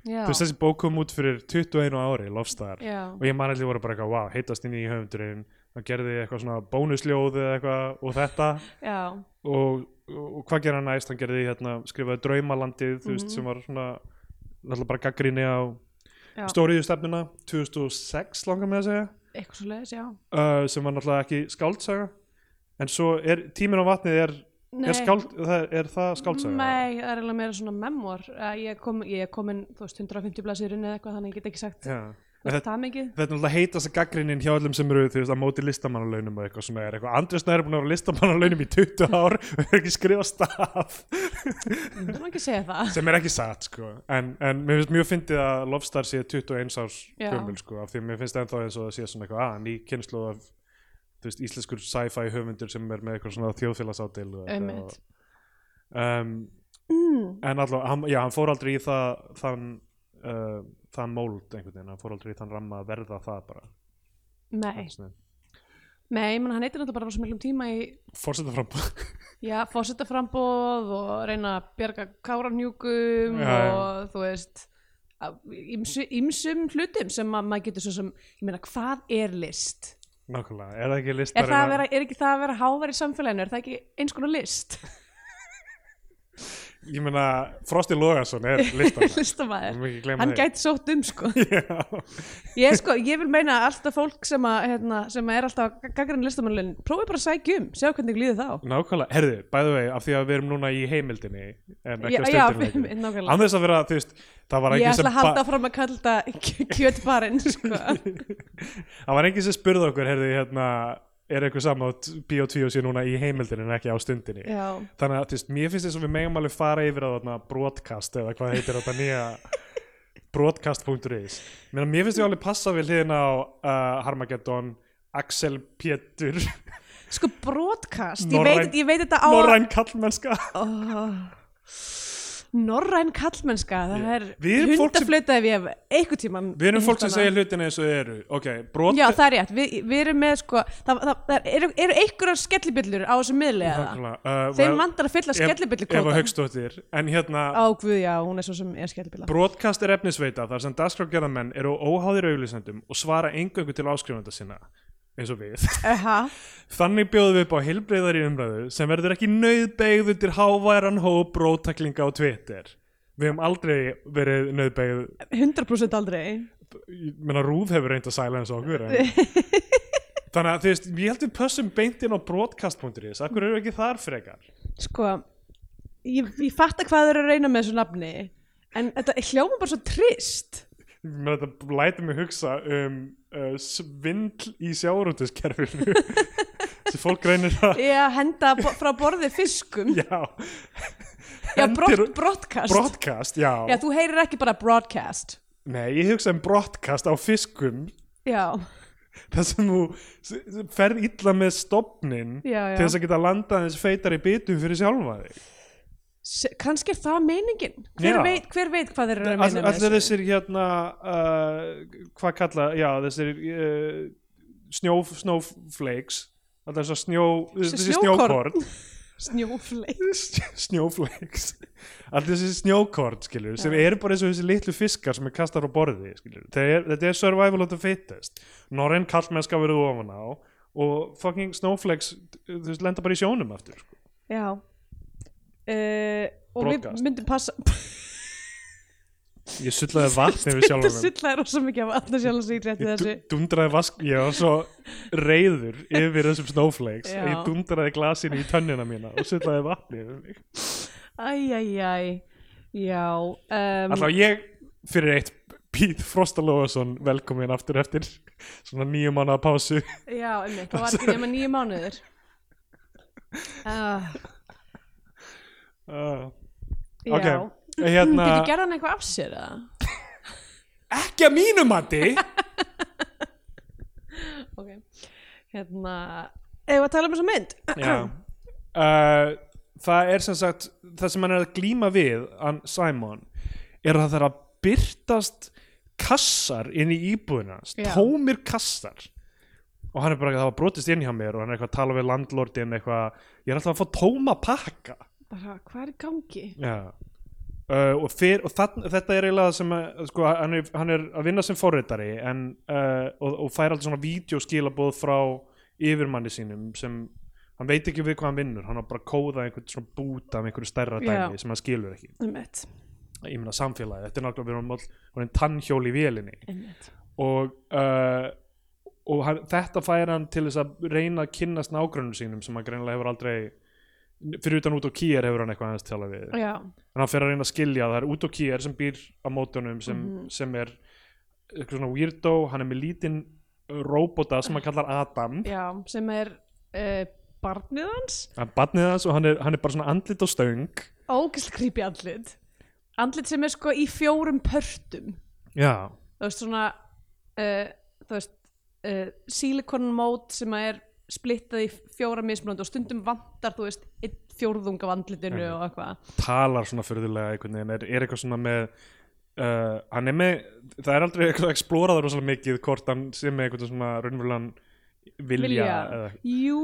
Speaker 3: Já,
Speaker 1: Þú veist þessi bók kom út fyrir 21 ári Lofstar
Speaker 3: Já.
Speaker 1: og ég man allir voru bara eitthvað wow, heitast inn í höfundurinn hann gerði eitthvað svona bónusljóð eða eitthvað og þetta
Speaker 3: já,
Speaker 1: og, og, og hvað gerði hann næst hann gerði hérna, skrifaði Draumalandið þú
Speaker 3: Mhm.
Speaker 1: veist sem var svona náttúrulega bara gaggrinni á
Speaker 3: Já.
Speaker 1: stóriðustefnuna 2006 langar mig að segja
Speaker 3: eitthvað svo leiðis, já
Speaker 1: uh, sem var náttúrulega ekki skáldsaga en svo er tíminn á vatnið er,
Speaker 3: Nei.
Speaker 1: er, skáld, það- er það skáldsaga?
Speaker 3: Nei, það er alveg meira svona memor Eh, ég er kom, ég er komin, þú veist, 150 blaðsir inn eða eitthvað, þannig ég get ekki sagt
Speaker 1: Já. En Þetta,
Speaker 3: það mikið
Speaker 1: þetta er náttúrulega heitast að gaggrinnin hjá allum sem eru þú veist, að móti listamannalaunum og eitthvað svona er eitthvað Andri Snær er búin að vera á listamannalaunum í 20 ár *laughs* og er ekki skrifa staf *laughs*
Speaker 3: Þú má ekki segja það
Speaker 1: sem er ekki satt sko en, en mér finnst mjög fyndið að Lofstar sé 21 árs
Speaker 3: Já.
Speaker 1: gömul sko af því að mér finnst ennþá eins og það sé svona eitthvað að ný kynslu af þú veist, íslenskur sci-fi höfundur sem er með eitthvað svona þjóðfélagsádil og eitthvað og-
Speaker 3: Einmitt.
Speaker 1: um, en allavega, hann, já, hann fór aldrei í það þann uh, það mold einhvern veginn, hann fór aldrei í þann ramma að verða það bara
Speaker 3: Nei, nei, menn hann heitir náttúrulega bara rosa miklum tíma í
Speaker 1: Fórseta fram
Speaker 3: já, fósittaframbóð og reyna að bjarga káranjúkum
Speaker 1: Já, já.
Speaker 3: og þú veist ímsum hlutum sem að maður getur svo sem, ég meina, hvað er list?
Speaker 1: *laughs* Nákvæmlega, er það ekki hérna?
Speaker 3: Er, það að
Speaker 1: listarinn
Speaker 3: vera, er ekki það að vera hávar í samfélaginu? Er það ekki eins konar list? *laughs*
Speaker 1: Ég meina, Frosti Logason
Speaker 3: *laughs*
Speaker 1: er listarinn
Speaker 3: Listamæður.
Speaker 1: Hann
Speaker 3: Hann gæti sótt um, sko.
Speaker 1: *laughs* Já,
Speaker 3: Ég, sko, ég vil meina að alltaf fólk sem, að, hérna, sem að er alltaf gaggarinn listamæðurlun, prófið bara að sækja um, sjá hvernig líður þá.
Speaker 1: nákvæmlega, herðu, bæðu vei af því að við erum núna í heimildinni en ekki
Speaker 3: Já,
Speaker 1: á
Speaker 3: já,
Speaker 1: stundinni
Speaker 3: nákvæmlega.
Speaker 1: Án þess að vera, þú veist, það var
Speaker 3: Ég
Speaker 1: enginn
Speaker 3: ætla
Speaker 1: sem
Speaker 3: að
Speaker 1: ba-
Speaker 3: halda áfram að kalla þetta kjötbarinn,
Speaker 1: *laughs*
Speaker 3: sko.
Speaker 1: Það var enginn sem spurði okkur, herðu, hérna er eitthvað samátt B.O.T. og sé núna í heimildinni en ekki á stundinni
Speaker 3: Já.
Speaker 1: þannig að þú veist, mér finnst þess að við megum alveg fara yfir að þarna broadcast eða hvað heitir þetta nýja broadcast.is Mér, mér finnst þau alveg passa við hliðin á uh, Harmageddon, Axel Pétur
Speaker 3: Sko broadcast,
Speaker 1: Norræn-
Speaker 3: ég, veit, ég veit þetta á
Speaker 1: Norræn kallmennska
Speaker 3: Norræn kallmennska, það
Speaker 1: Já.
Speaker 3: er
Speaker 1: Við erum fólk sem-
Speaker 3: hundaflauta ef ég hef einhver tíman
Speaker 1: Við erum fólk sem segir hlutin eins og þau eru Ok, brot
Speaker 3: Já, það er rétt, við, við erum með sko það, það, það eru, eru einhverjar skellibillur á þessum miðlega
Speaker 1: Nákvæmlega, uh,
Speaker 3: Þeim
Speaker 1: well,
Speaker 3: vantar að fylla
Speaker 1: Eva
Speaker 3: skellibillukvóta
Speaker 1: Hauksdóttir En hérna,
Speaker 3: Á guð, já, hún er svo sem er skellibilla
Speaker 1: Broadcast er efnisveita þar sem dagskrákgerðamenn eru óháðir auglýsendum og svara engöngu til áskrifanda sinna eins og við.
Speaker 3: Aha,
Speaker 1: Þannig bjóðum við upp á heilbreyðari umræðu sem verður ekki nöðbeigð undir háværan hóp róttaklinga á Twitter. Við hefum aldrei verið nöðbeigð,
Speaker 3: 100% aldrei
Speaker 1: ég menna Rúð hefur reynd að sæla eins og okkur.
Speaker 3: *laughs*
Speaker 1: En... Þannig að þú veist, ég held við pössum beint inn á broadcast.is, akkur eru ekki þar frekar?
Speaker 3: Sko, ég, ég fatta hvað þau eru að reyna með þessu nafni En þetta hljóma bara svo trist
Speaker 1: Mér þetta læti mig hugsa um uh, svindl í sjáurúndiskerfinu
Speaker 3: *laughs*
Speaker 1: sem fólk reynir að
Speaker 3: Ég að henda bo- frá borði fiskum
Speaker 1: Já,
Speaker 3: Já,
Speaker 1: Hendir-
Speaker 3: brott, brottkast
Speaker 1: broadcast, já.
Speaker 3: Já, þú heyrir ekki bara broadcast
Speaker 1: Nei, ég hugsa um broadcast á fiskum
Speaker 3: Já,
Speaker 1: þar sem þú s- s- ferð illa með stopnin
Speaker 3: Já, já.
Speaker 1: til þess að geta landað eins feitari bitum fyrir sjálfa þig.
Speaker 3: S kannski er það meiningin Hver,
Speaker 1: Já.
Speaker 3: veit, hver veit hvað þeir eru að meina með
Speaker 1: Allir þessir hérna, uh, hvað kalla, já, þessir uh, snjó, snowflakes, allir þessar snjó, þessi
Speaker 3: snjókorn.
Speaker 1: snjókorn, *laughs*
Speaker 3: Snjófleik
Speaker 1: snjóflakes, allir þessi snjókorn, skilur, sem eru bara eins og þessi litlu fiskar sem er kastað á borði, skilur. Er, þetta er survival of the fittest. Norren kallmennska verið ofan á og fucking snowflakes, þú veist, lenda bara í sjónum aftur, sko.
Speaker 3: Já uh, Og
Speaker 1: Broadcast.
Speaker 3: við myndum passa
Speaker 1: *laughs* Ég sullaði vatni við
Speaker 3: Þetta
Speaker 1: sjálfum
Speaker 3: sillaði rosa mikið af allir sjálf sig rétt í
Speaker 1: Ég
Speaker 3: þessu
Speaker 1: dú- dundraði vask, ég var svo reyður yfir þessum snowflakes
Speaker 3: Já.
Speaker 1: ég dundraði glasinu í tönnina mína og sullaði vatni yfir mig
Speaker 3: Æjæjæj Já um,
Speaker 1: Allá ég fyrir eitt Pít Frosta Lóðarsson velkomin aftur eftir svona nýju mánuða pásu
Speaker 3: Já, einmitt, *laughs* það var ekki nema nýju mánuðir uh,
Speaker 1: uh,
Speaker 3: Já
Speaker 1: ok,
Speaker 3: okay.
Speaker 1: hérna
Speaker 3: Getur gerðan eitthvað af sér eða?
Speaker 1: ekki að mínu mati
Speaker 3: Ok Hérna Eða að tala um þessa mynd
Speaker 1: Já. Uh, það er sem sagt það sem hann er að glíma við hann Simon er að það er að byrtast kassar inn í íbúðina
Speaker 3: Já.
Speaker 1: tómir kassar og hann er bara að það var brotist inn hjá mér og hann er eitthvað að tala við landlordin eitthvað, ég er alltaf að fá tóma pakka
Speaker 3: bara hvað er í gangi
Speaker 1: Já. Uh, og, fyr, og þann, þetta er eiginlega sem að, sko, hann, er, hann er að vinna sem forritari en, uh, og, og fær alltaf svona vídeoskilabóð frá yfirmanni sínum sem hann veit ekki við hvað hann vinnur hann á bara að kóða einhvern svona búta með einhverju stærra
Speaker 3: Já.
Speaker 1: dæmi sem hann skilur ekki
Speaker 3: einmitt,
Speaker 1: ég meina samfélagi, þetta er náttúrulega við erum all hann tannhjól í vélinni
Speaker 3: einmitt.
Speaker 1: og, uh, og hann, þetta fær hann til þess að reyna að kynnast nágrunum sínum sem hann greinlega hefur aldrei fyrir utan út á kýjar hefur hann eitthvað aðeins tala við
Speaker 3: já,
Speaker 1: en hann fer að reyna að skilja að það er út og kýr sem býr á mótunum sem, sem er eitthvað svona weirdo, hann er með lítinn róbóta sem hann kallar Adam
Speaker 3: já, sem er uh, barnið hans
Speaker 1: hann barnið þess og hann er, hann er bara svona andlit og stöng
Speaker 3: ógæslega creepy andlit andlit sem er sko í fjórum pörtum
Speaker 1: já,
Speaker 3: þú veist svona uh, þú veist uh, silikon mót sem að er splittað í fjóra mismunandi og stundum vantar þú veist einn fjórðung af andlitinu og eitthvað
Speaker 1: talar svona fyrðulega einhvern veginn, er, er eitthvað svona með uh, hann er með það er aldrei eitthvað eksplóraður rosalega mikið hvort hann sem með eitthvað svona raunverulegan vilja, eða,
Speaker 3: Jú,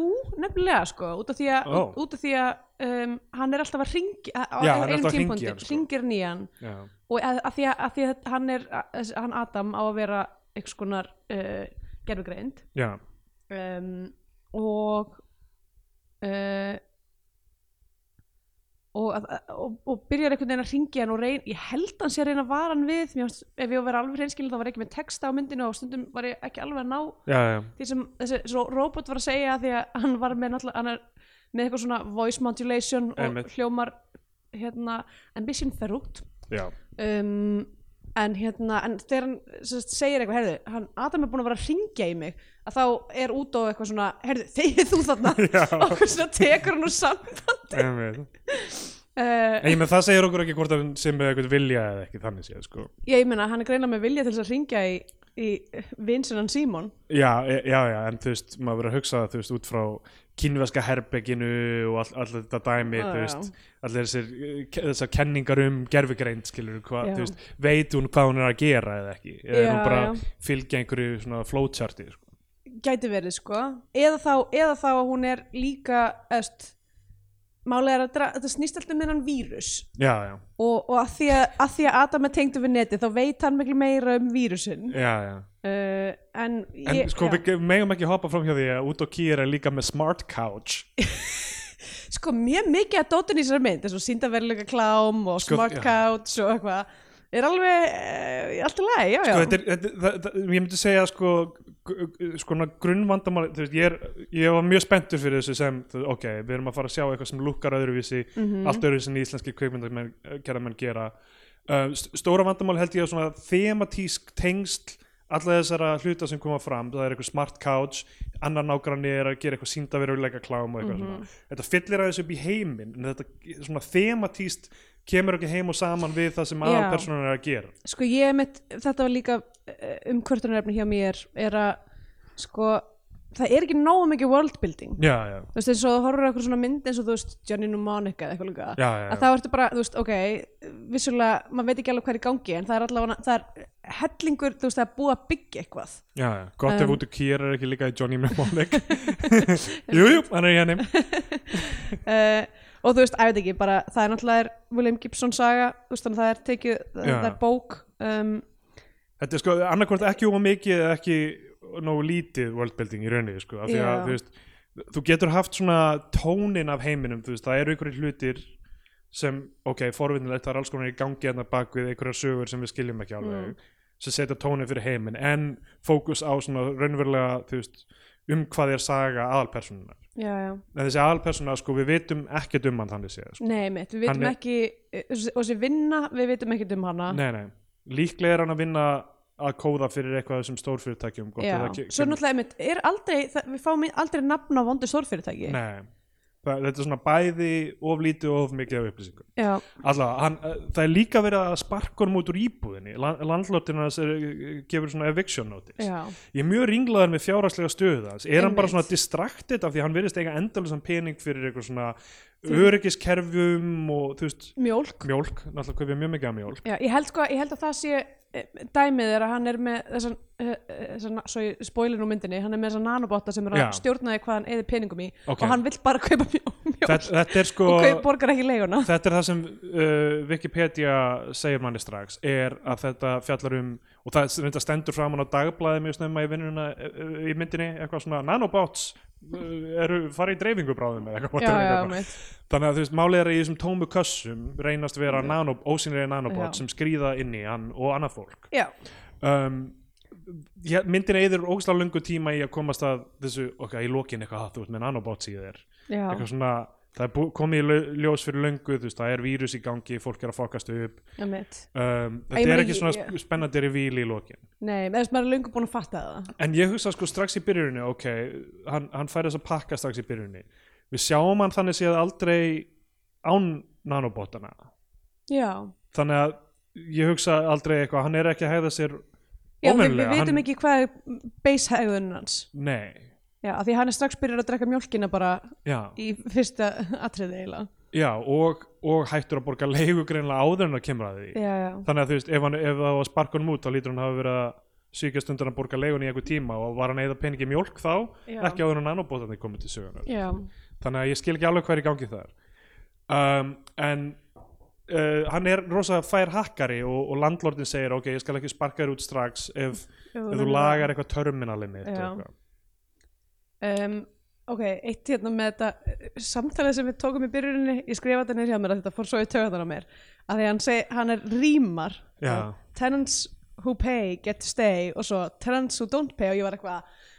Speaker 3: nefnilega sko út af því að,
Speaker 1: Ó.
Speaker 3: út af því að um, hann er alltaf að ringi á
Speaker 1: Já,
Speaker 3: á
Speaker 1: hann er
Speaker 3: einum
Speaker 1: alltaf að hringja í
Speaker 3: tímapunkti,
Speaker 1: hann, sko.
Speaker 3: hringir nýjan
Speaker 1: já,
Speaker 3: og að, að því að, að, því að hann er að, hann Adam á að vera einhvers konar uh, gerfugreind
Speaker 1: já,
Speaker 3: um, og uh, og, að, að- og, og byrjar einhvern veginn að ringja hann og reyn, ég held hann sé að reyna að vara hann við mér, fannst- ef ég var að vera alveg reynskilin þá var ekki með texta á myndinu og stundum var ég ekki alveg að ná
Speaker 1: já, já,
Speaker 3: því sem þessi svo robot var að segja því að hann var með náttúrulega hann er með eitthvað svona voice modulation og
Speaker 1: Einmitt.
Speaker 3: hljómar hérna ambition ferrútt
Speaker 1: já.
Speaker 3: um, en hérna en þegar hann sem sagt, segir eitthvað heyrðu, hann Adam er búin að vera að ringja í mig að þá er út á eitthvað svona heyrðu, þegið þú þarna
Speaker 1: *laughs* Já.
Speaker 3: *laughs* og eitthvað svona tekur hann úr samband
Speaker 1: einmitt.
Speaker 3: uh,
Speaker 1: En ég með það segir okkur ekki hvort hann sem með eitthvað vilja eða ekki þannig séð sko.
Speaker 3: ég meina hann er greinlega með vilja til þess að ringja í, í vinsinan Simon
Speaker 1: Já, e- já, já, en þú veist, maður verið að hugsa það, þú veist, út frá kínverska herbygginu og all, all þetta dæmi,
Speaker 3: Já,
Speaker 1: þú
Speaker 3: já.
Speaker 1: veist, allir þessir, eh, ke- þessar kenningar um gerfugreind, skilur, hvað,
Speaker 3: Já.
Speaker 1: þú veist, veit hún hvað hún er að gera eða ekki, eða er
Speaker 3: Já,
Speaker 1: hún bara
Speaker 3: já.
Speaker 1: að fylgja einhverju svona flowcharti, sko.
Speaker 3: gæti verið sko eða þá, eða þá að hún er líka öst, málega er að dra- þetta snýst alltaf með hann vírus
Speaker 1: Já, já,
Speaker 3: og, og að, því að, að því að Adam er tengdu við neti þá veit hann miklu meira um vírusin uh,
Speaker 1: já, já.
Speaker 3: en,
Speaker 1: En
Speaker 3: ég,
Speaker 1: sko,
Speaker 3: já.
Speaker 1: við megum ekki hoppa fram hjá því að út og kýra líka með smart couch.
Speaker 3: sko mjög mikið að dótin í þessari mynd eins og síndaveruleika klám og
Speaker 1: Sko,
Speaker 3: smart
Speaker 1: já.
Speaker 3: couch og eitthvað er alveg uh, alltaf leið, já, já
Speaker 1: Sko, þetta er, þetta, það, það, ég myndi segja sko, gu- gu- sko grunnvandamáli þú veist, ég, er, ég var mjög spenntur fyrir þessu sem þú- ok, við erum að fara að sjá eitthvað sem lukkar öðruvísi,
Speaker 3: Mhm.
Speaker 1: allt öðruvísi en íslenski kveikmyndagerðamenn gera uh, st- stóra vandamáli held ég að svona thematísk tengsl alla þessara hluta sem koma fram, það er eitthvað smart couch annar nágranni er að gera eitthvað síndaveruleika klám og eitthvað
Speaker 3: Mhm.
Speaker 1: svona þetta fyllir aðeins upp í heiminn en þetta svona thematíst kemur ekki heim og saman við það sem
Speaker 3: Já.
Speaker 1: aðalpersonan er að gera
Speaker 3: sko ég mitt, þetta var líka eh, umkvörtunarefni hjá mér er að sko það er ekki nógu mikið worldbuilding
Speaker 1: já, já,
Speaker 3: þú veist eins og þú horfur eitthvað svona mynd eins og þú veist Johnny Mnemonic eða eitthvað líka
Speaker 1: já, já, já.
Speaker 3: að þá ertu bara, þú veist, ok vissulega, maður veit ekki alveg hvað er í gangi en það er allavega, það er hellingur þú veist, það er búið að byggja eitthvað
Speaker 1: Já, já, gott ef
Speaker 3: Um,
Speaker 1: út og kýr er ekki líka í Johnny
Speaker 3: *laughs*
Speaker 1: Mnemonic *laughs* Jú, jú, hann er í henni
Speaker 3: uh, og þú veist, að veit ekki, bara það er náttúrulega er William Gibson saga, þú veist, þannig að það er tekið, það,
Speaker 1: Já.
Speaker 3: það er bók um,
Speaker 1: Þetta er sko annarkvort ekki um mikið eða ekki nógu lítið worldbuilding í rauninni sko, af því að
Speaker 3: Já.
Speaker 1: þú veist þú getur haft svona tónin af heiminum þú veist, það eru einhverjir hlutir sem, ok, forvinnilegt, það er alls konar í gangi hérna bak við einhverjar sögur sem við skiljum ekki alveg
Speaker 3: Mm.
Speaker 1: sem setja tónin fyrir heimin en fókus á svona raunverulega þú veist, um hvað er saga aðalpersonuna
Speaker 3: já, já,
Speaker 1: en þessi aðalpersona, sko, við vitum ekkert um hann þannig séð, sko.
Speaker 3: nei mitt, við
Speaker 1: Hann
Speaker 3: vitum
Speaker 1: er-
Speaker 3: ekki eh, og þessi vinna, við vitum ekkert um hana
Speaker 1: Nei, nei, líklega er hann að vinna að kóða fyrir eitthvað af þessum stórfyrirtækjum gott
Speaker 3: já,
Speaker 1: ef það ke-
Speaker 3: svo
Speaker 1: kemur-
Speaker 3: náttúrulega mitt, er aldrei það, við fáum aldrei nafn á vondu stórfyrirtæki
Speaker 1: Nei, það, þetta er svona bæði of lítið og of mikið af upplýsingum
Speaker 3: já,
Speaker 1: Alla, hann, eh, það er líka verið að sparka honum út úr íbúðinni Land, landlóttina hans er, eh, gefur svona eviction notice
Speaker 3: já,
Speaker 1: Ég er mjög ringlaður með fjárhagslega stöðu hans Er hann bara
Speaker 3: Einmitt.
Speaker 1: svona distracted af því að hann virðist eiga endalösan pening fyrir eitthvað svona öryggiskerfum og þú veist,
Speaker 3: mjólk
Speaker 1: mjólk Náttúrulega kaupið mjög mikið af mjólk
Speaker 3: Já, ég held, sko, ég held að það sé eh, dæmið er að hann er með þessan, uh, þessan svo ég spoilir nú myndinni hann er með þessa nanobotta sem er að
Speaker 1: Já.
Speaker 3: stjórna því hvað hann eða peningum í
Speaker 1: Ok.
Speaker 3: og hann vill bara kaupa mjó- mjólk
Speaker 1: Þetta, þetta er sko
Speaker 3: og kaup, borgar ekki leiguna
Speaker 1: þetta er það sem uh, Wikipedia segir manni strax er að þetta fjallar um og það reynda stendur framan á dagblæði mjög snemma í vinnuna uh, í myndinni eitthvað svona nanobots uh, eru farið í dreifingu bráðum eða eitthvað,
Speaker 3: Já,
Speaker 1: whatever,
Speaker 3: já,
Speaker 1: eitthvað.
Speaker 3: mitt.
Speaker 1: þannig að þú veist málið er að í þessum tómu kössum reynast vera nano, ósynlega nanobots
Speaker 3: Já.
Speaker 1: sem skrýða inn í hann og annað fólk
Speaker 3: Já,
Speaker 1: um, ég, myndin eður ógstlega lungu tíma í að komast að þessu, ok, í lokin eitthvað "Ha, þú ert með nanobots í þér
Speaker 3: já,
Speaker 1: eitthvað svona það er bú- komið í lau- ljós fyrir löngu þú veist, það er vírus í gangi, fólk er að fokast upp
Speaker 3: já, mitt
Speaker 1: um,
Speaker 3: Ég
Speaker 1: þetta
Speaker 3: meina,
Speaker 1: er ekki
Speaker 3: ég-
Speaker 1: svona
Speaker 3: ég-
Speaker 1: sp- spennandi revíl í lokin
Speaker 3: Nei, eða þess maður er löngu búin að fatta það
Speaker 1: en ég hugsa sko strax í byrjunni ok, hann, hann fær þess að pakka strax í byrjunni við sjáum hann þannig séð aldrei án nanobotana
Speaker 3: Já,
Speaker 1: þannig að ég hugsa aldrei eitthvað hann er ekki að hegða sér
Speaker 3: já við, við
Speaker 1: óvenjulega,
Speaker 3: vitum
Speaker 1: hann-
Speaker 3: ekki hvað er basehægðun hans
Speaker 1: nei,
Speaker 3: Já, af því hann er strax byrjar að drekka mjólkina bara
Speaker 1: já
Speaker 3: í fyrsta atriði eiginlega
Speaker 1: já, og, og hættur að borga leigu greinlega áður en að kemur að því
Speaker 3: já, já,
Speaker 1: þannig að þú veist, ef, hann, ef það var sparkunum út þá lítur hann hafa verið að svíkjast undan að borga leigun í einhver tíma og var hann eða peningi í mjólk þá,
Speaker 3: Já.
Speaker 1: ekki áður en nanobótarnir komið til sögunar
Speaker 3: já,
Speaker 1: þannig að ég skil ekki alveg hvað er í gangi þar um, en uh, hann er rosa fær hakkari og, og landlordin segir ok, ég skal ekki sparka þér út strax ef, ef þú lagar eitthvað terminali mitt og
Speaker 3: Já.
Speaker 1: eitthvað.
Speaker 3: um, ok, eitt hérna með þetta eh, samtalið sem við tókum í byrjuninni ég skrifa þetta niður hjá mér að þetta fór svo í töðan á mér að því hann segi, hann er rýmar
Speaker 1: Já.
Speaker 3: tenants who pay get to stay og svo tenants who don't pay og ég var eitthvað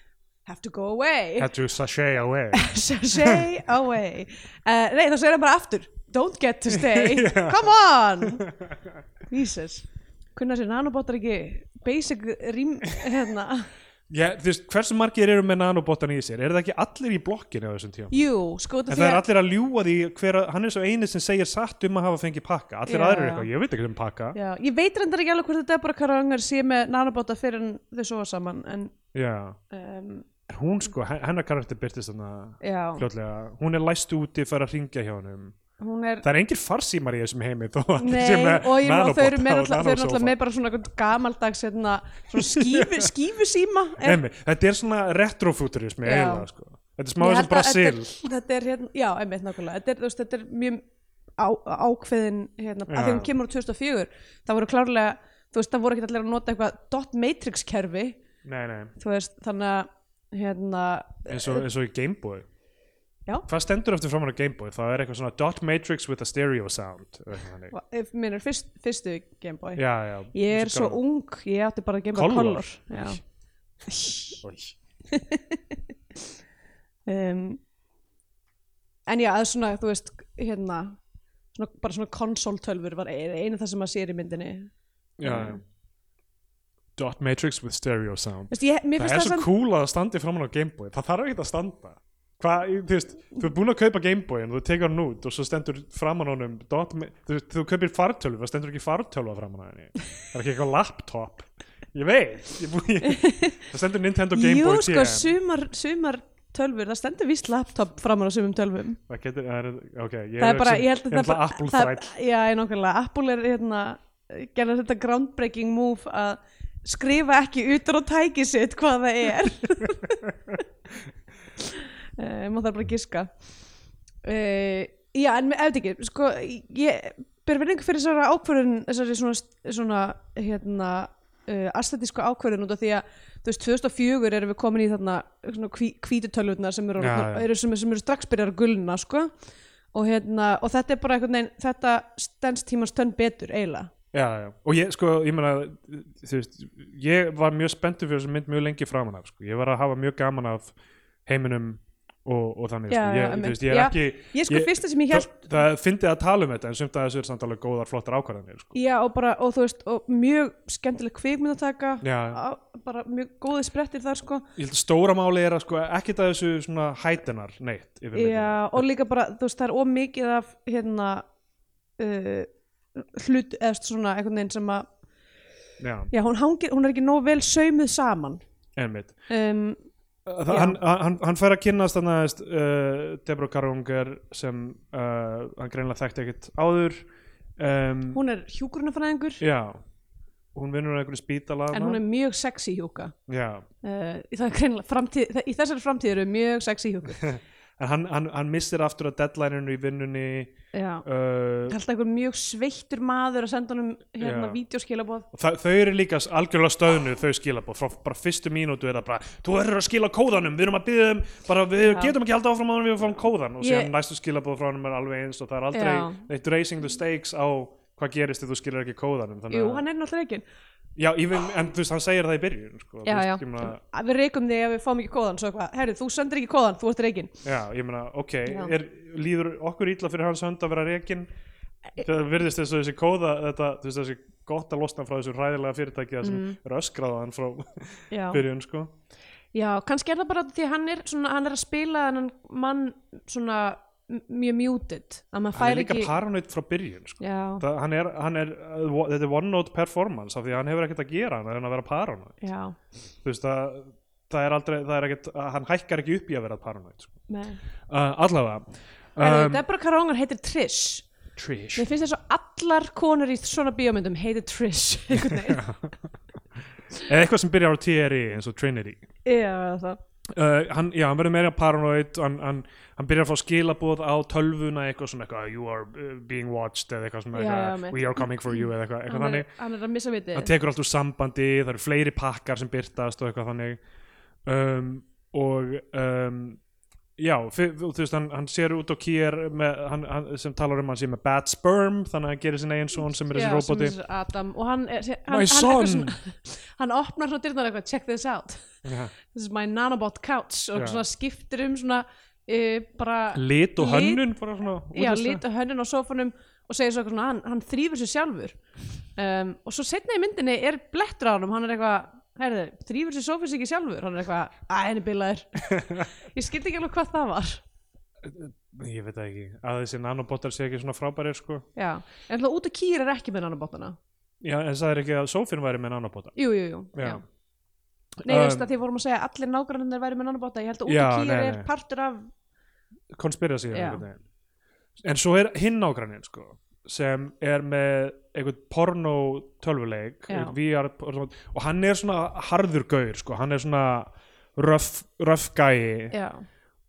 Speaker 3: have to go away *laughs*
Speaker 1: had to sashay away
Speaker 3: sashay away uh, nei þá segir hann bara aftur don't get to
Speaker 1: *laughs*
Speaker 3: stay,
Speaker 1: Já.
Speaker 3: come
Speaker 1: *laughs*
Speaker 3: on Jesus kunna sér nanobotar ekki basic rým hérna
Speaker 1: *laughs* Já, þú veist, hversu margir eru með nanobotan í sér? Er það ekki allir í blokkinu á þessum tíma?
Speaker 3: jú, sko út
Speaker 1: En
Speaker 3: af
Speaker 1: það er
Speaker 3: því að
Speaker 1: allir að ljúga því hver að, hann er svo eini sem segir satt um að hafa fengið pakka. Allir
Speaker 3: Já.
Speaker 1: aðrir eru eitthvað, ég veit ekki um pakka.
Speaker 3: já, ég veit reyndar ekki alveg hvort að Deborah Karangar sé með nanobota fyrir en þau sofa saman en
Speaker 1: Já.
Speaker 3: um,
Speaker 1: En Hún sko, hen- hennar karakter byrtist þarna
Speaker 3: já,
Speaker 1: fljótlega. Hún er læst úti, fær að ringja hjá honum.
Speaker 3: hún er
Speaker 1: Það er engir farsímar í þessum heimi þó að
Speaker 3: Nei,
Speaker 1: sé með
Speaker 3: og ég meina þau eru
Speaker 1: nanobota
Speaker 3: með
Speaker 1: og
Speaker 3: alltaf, þau eru alltaf
Speaker 1: nanosófa.
Speaker 3: með bara svona einhvern gamaldags hérna, svona
Speaker 1: *laughs*
Speaker 3: skífu, skífusíma er,
Speaker 1: Einmitt, Þetta er svona retrofuturismi
Speaker 3: Já.
Speaker 1: eiginlega sko. Þetta er smá
Speaker 3: Ég
Speaker 1: eins
Speaker 3: held
Speaker 1: og
Speaker 3: að þetta er-
Speaker 1: Brasil.
Speaker 3: Þetta er hérna, já, einmitt nákvæmlega Þetta er, þú veist, þetta er mjög á, ákveðin hérna, að
Speaker 1: Já.
Speaker 3: því hún kemur úr 2004 það voru klárlega, þú veist, það voru ekki allir að nota eitthvað dot matrix kerfi
Speaker 1: Nei, nei,
Speaker 3: þú veist, þannig að hérna,
Speaker 1: eins og, eins og í Gameboy.
Speaker 3: Já.
Speaker 1: Hvað stendur eftir framan á Gameboy? Það er eitthvað svona dot matrix with a stereo sound. eða eitthvað þannig.
Speaker 3: ef minn er fyrst, fyrstu Gameboy
Speaker 1: Já, já.
Speaker 3: Ég er svo ung, ég átti bara Gameboy
Speaker 1: Color.
Speaker 3: Color Já
Speaker 1: ung.
Speaker 3: um, en já, að svona, þú veist hérna, svona, bara svona konsoltölfur var ein- einu það sem maður sér í myndinni
Speaker 1: Já,
Speaker 3: Um,
Speaker 1: já. Dot matrix with stereo sound.
Speaker 3: Vist, ég, mér
Speaker 1: Það
Speaker 3: finnst
Speaker 1: er
Speaker 3: það,
Speaker 1: svo
Speaker 3: það
Speaker 1: cool að það standi framan á Gameboy. Það þarf ekki að standa. Hvað, þú veist, þú er búin að kaupa Gameboy en þú tekur hann út og svo stendur framan á honum dot, ma- þú, veist, þú kaupir fartölvu, það stendur ekki fartölva framan á henni. Það er ekki eitthvað laptop. Ég veit, ég búi, það stendur Nintendo
Speaker 3: jú,
Speaker 1: Gameboy
Speaker 3: sko,
Speaker 1: TM.
Speaker 3: sumar, sumar tölfur, það stendur víst laptop framan á sumum tölvum
Speaker 1: Það getur, það er, ok, ég
Speaker 3: það er bara, ég
Speaker 1: ég
Speaker 3: held að það er bara
Speaker 1: Apple
Speaker 3: það-
Speaker 1: þræll.
Speaker 3: já, ég nákvæmlega, Apple er hérna gerða þetta groundbreaking move að skrifa ekki utan á tæki sitt hvað það er *laughs* uh, maður þarf bara að giska uh, já, en ef þetta ekki sko, ég ber verðingu fyrir þessari ákvörðun þessari svona, svona hérna uh, astetísku ákvörðun út af því að þú veist, 2004 erum við komin í þarna svona hví, hvítu tölvutnar sem eru,
Speaker 1: Já,
Speaker 3: orðnar-
Speaker 1: já.
Speaker 3: eru, sem, sem eru strax byrjar að gulna sko. og hérna, og þetta er bara einhvern veginn, þetta stendst tímans tönn betur eiginlega
Speaker 1: Já, já, og ég, sko, ég meina þú veist, ég var mjög spenntur fyrir þessu mynd mjög lengi framan af, sko, ég var að hafa mjög gaman af heiminum og, og þannig,
Speaker 3: Já,
Speaker 1: sko,
Speaker 3: já,
Speaker 1: ég, þú
Speaker 3: einmitt.
Speaker 1: veist, ég er
Speaker 3: Já,
Speaker 1: ekki
Speaker 3: ég sko
Speaker 1: Ég-
Speaker 3: fyrsta sem ég
Speaker 1: það,
Speaker 3: held
Speaker 1: það fyndi að tala um þetta en sumt að þessu er samt alveg góðar flottar ákvarðanir, sko
Speaker 3: já, og bara, og þú veist, og mjög skemmtileg kvikmynd að taka
Speaker 1: Já,
Speaker 3: á, bara mjög góði sprettir þar sko
Speaker 1: ég held að stóra máli er að sko ekkert að þessu svona hætenar neitt yfir myndinni.
Speaker 3: Já, og líka bara, þú veist, það er ómikið af hérna uh, hlut, eða svona einhvern veginn sem að,
Speaker 1: Já,
Speaker 3: já, hún hangir, hún er ekki nóg vel saumuð saman
Speaker 1: einmitt
Speaker 3: um,
Speaker 1: Það,
Speaker 3: Já.
Speaker 1: hann, hann, hann fær að kynnast þannig að uh, Deborah Karungar sem uh, hann greinlega þekkti ekkert áður um,
Speaker 3: Hún er hjúkurunafræðingur
Speaker 1: já hún vinnur á einhverju spítala
Speaker 3: en hún er mjög sexy hjúka
Speaker 1: já.
Speaker 3: uh, það er greinilega, framtíð, það, í þessari framtíð eru mjög sexy hjúkur
Speaker 1: en hann, hann, hann missir aftur að deadlineinu í vinnunni *laughs*
Speaker 3: Já,
Speaker 1: uh,
Speaker 3: það er alltaf einhver mjög sveittur maður að senda honum hérna
Speaker 1: Já.
Speaker 3: vídeoskilabóð
Speaker 1: og þa- þau eru líka s- algjörlega stöðnu þau skilabóð, frá bara fyrstu mínútu er það bara, þú verður að skila kóðanum við erum að byggja um, bara við getum ekki alltaf áfram á hann við fáum kóðan og
Speaker 3: Ég-
Speaker 1: síðan næstu skilabóð frá hann er alveg eins og það er aldrei
Speaker 3: Já.
Speaker 1: neitt raising the stakes á hvað gerist ef þú skilir ekki kóðanum þannig
Speaker 3: Jú,
Speaker 1: að-
Speaker 3: hann er náttúrulega ekki
Speaker 1: Já, ég vil, en þú veist, hann segir það í byrjun sko. Þú
Speaker 3: Já,
Speaker 1: veist,
Speaker 3: já,
Speaker 1: Ég meina,
Speaker 3: við reykum þig ef við fáum ekki kóðan svo eitthvað, herri, þú sendir ekki kóðan, þú ert reygin
Speaker 1: já, ég meina, ok
Speaker 3: Já.
Speaker 1: er, líður okkur ítla fyrir hans hönd að vera rekin
Speaker 3: E-
Speaker 1: það virðist þess að þessi kóða þetta, þú veist, þessi gott að losna frá þessu ræðilega fyrirtæki það sem mm. er öskraðan frá
Speaker 3: Já.
Speaker 1: byrjun, sko
Speaker 3: Já, kannski er það bara því að hann er, svona, hann er að spila en hann mann svona m- mjög muted að maður
Speaker 1: hann er
Speaker 3: fær
Speaker 1: líka
Speaker 3: ekki
Speaker 1: paranoid frá byrjun, sko
Speaker 3: Já,
Speaker 1: það, hann er, hann er, uh, wo- þetta er one note performance af því að hann hefur ekkert að gera hann en að vera paranoid,
Speaker 3: já,
Speaker 1: þú veist, það, uh, það er aldrei, það er ekkert, hann hækkar ekki upp í að vera paranoid, sko
Speaker 3: nei
Speaker 1: uh, allavega
Speaker 3: Um,
Speaker 1: Um,
Speaker 3: Deborah Carongan heitir Trish
Speaker 1: Trish
Speaker 3: Mér finnst þess að allar konur í svona bíómyndum heitir Trish *laughs* einhvern veginn.
Speaker 1: eða eitthvað sem byrjar á TRI eins og Trinity
Speaker 3: Já, það
Speaker 1: uh, hann, já, hann verður meira paranoid hann, hann, hann byrjar að fá skilaboð á tölvuna eitthvað svona eitthvað you are uh, being watched eða eitthvað svona
Speaker 3: Já, já,
Speaker 1: eitthvað,
Speaker 3: mitt.
Speaker 1: we are coming for you eða eitthvað, eitthvað
Speaker 3: hann, er,
Speaker 1: þannig
Speaker 3: hann er að missa viti
Speaker 1: hann tekur allt úr sambandi, það eru fleiri pakkar sem byrtast og eitthvað þannig um, og um, já, fyr- þú þú veist hann, hann sér út á kýr með, hann, hann, sem talar um að hann sé með bad sperm þannig að hann gerir sinna einn son sem er
Speaker 3: Já,
Speaker 1: þessi
Speaker 3: sem
Speaker 1: roboti
Speaker 3: þessir Adam og hann er, hann,
Speaker 1: My
Speaker 3: hann, er
Speaker 1: son!
Speaker 3: eitthvað svona, hann opnar svona dyrnar eitthvað check this out,
Speaker 1: Já.
Speaker 3: this is my nanobot couch og
Speaker 1: Já.
Speaker 3: svona skiptir um svona uh, bara
Speaker 1: lit og
Speaker 3: Lit-
Speaker 1: hönnun bara svona
Speaker 3: já,
Speaker 1: útlista.
Speaker 3: lít og hönnun á sofanum og segir svo eitthvað svona, hann, hann þrýfur sér sjálfur um, og svo setna í myndinni er blettur á hann, hann er eitthvað herðu, þrýfur sér sofið sig ekki sjálfur hann er eitthvað, að henni
Speaker 1: *laughs*
Speaker 3: bilaður ég skildi ekki alveg hvað það var
Speaker 1: ég veit það ekki, að þessi nanobotar sé ekki svona frábærir sko
Speaker 3: já, en alltaf út og kýr er ekki með nanobotana
Speaker 1: Já, en það er ekki að sófinn væri með nanobota
Speaker 3: jú, jú, jú,
Speaker 1: Já.
Speaker 3: já. Nei, þú veist
Speaker 1: Um,
Speaker 3: að því vorum að segja að allir nágrannir væri með nanobota, ég held að
Speaker 1: Já,
Speaker 3: útikýra
Speaker 1: nei,
Speaker 3: er
Speaker 1: nei.
Speaker 3: partur af
Speaker 1: Conspiracy eða
Speaker 3: Já.
Speaker 1: einhvern veginn. En svo er hinn ágrannin sko sem er með einhvern porno tölvuleik
Speaker 3: Já.
Speaker 1: einhvern VR, porno- og hann er svona harður gaur sko, hann er svona röf, röf gæi
Speaker 3: Já,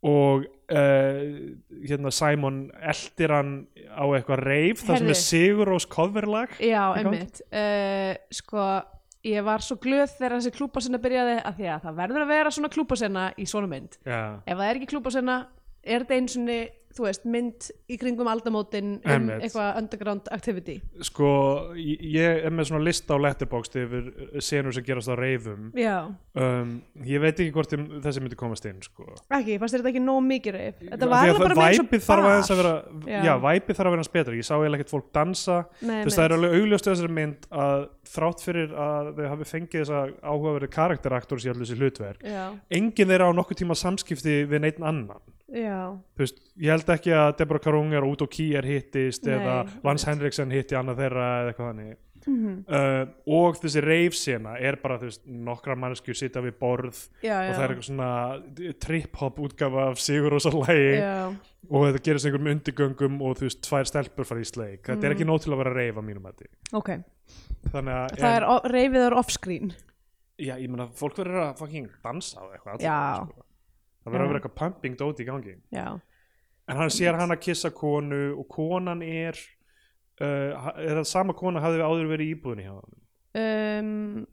Speaker 1: og uh, hérna Simon eldir hann á eitthvað reif þar sem
Speaker 3: Heyrðu.
Speaker 1: er Sigurós coverlag
Speaker 3: já
Speaker 1: Ekki
Speaker 3: einmitt uh, Sko, ég var svo glöð þegar þessi klúpasenna byrjaði að því að það verður að vera svona klúpasenna í svona mynd
Speaker 1: Já,
Speaker 3: Ef það er ekki klúpasenna, er þetta eins og þú veist, mynd í kringum aldamótin um
Speaker 1: Einmitt.
Speaker 3: eitthvað underground activity
Speaker 1: sko ég, ég er með svona lista á letterboxd yfir senur sem gerast á reifum
Speaker 3: Já,
Speaker 1: um, ég veit ekki hvort um- þessi myndi komast inn sko.
Speaker 3: ekki, fannst þér þetta ekki nóg mikið reif Þetta
Speaker 1: Því
Speaker 3: var
Speaker 1: að
Speaker 3: alveg bara með eins og
Speaker 1: væpið þarf aðeins að vera
Speaker 3: Já.
Speaker 1: já. væpið þarf að vera hans betra, ég sá eiginlega ekkert fólk dansa
Speaker 3: Nei,
Speaker 1: þú veist það er alveg augljóst í þessari mynd að þrátt fyrir að þau hafi fengið þessa áhugaverði karakteraktors í allir þessi hlutverk
Speaker 3: Já,
Speaker 1: enginn þeirra á nokkuð tíma samskipti við neitt annan
Speaker 3: já,
Speaker 1: þú veist, ég held ekki að Deborah Karungar og Udo Kier hittist
Speaker 3: Nei,
Speaker 1: eða Vance Henriksen hitti annað þeirra eða eitthvað þannig
Speaker 3: Mhm.
Speaker 1: uh, og þessi reifsena er bara þú veist, nokkra mannskjur sita við borð
Speaker 3: já, já
Speaker 1: og það er eitthvað svona eh, trip-hop útgafa af Sigur og
Speaker 3: Já,
Speaker 1: og þetta gerist einhverjum undirgöngum og þú veist, tvær stelpur fara í sleik þetta
Speaker 3: Mhm.
Speaker 1: er ekki nóg til að vera reif á mínum mati
Speaker 3: ok
Speaker 1: þannig að
Speaker 3: Það er o- reifið er offscreen
Speaker 1: já, ég meina, fólk verður að fucking dansa á eitthvað
Speaker 3: Já.
Speaker 1: allavega, sko. það verður
Speaker 3: Já.
Speaker 1: að vera eitthvað pumping dót í gangi
Speaker 3: Já,
Speaker 1: en hann sér hann að kissa konu og konan er uh, ha- er það sama kona hafði áður verið í íbúðinni hjá hann
Speaker 3: um,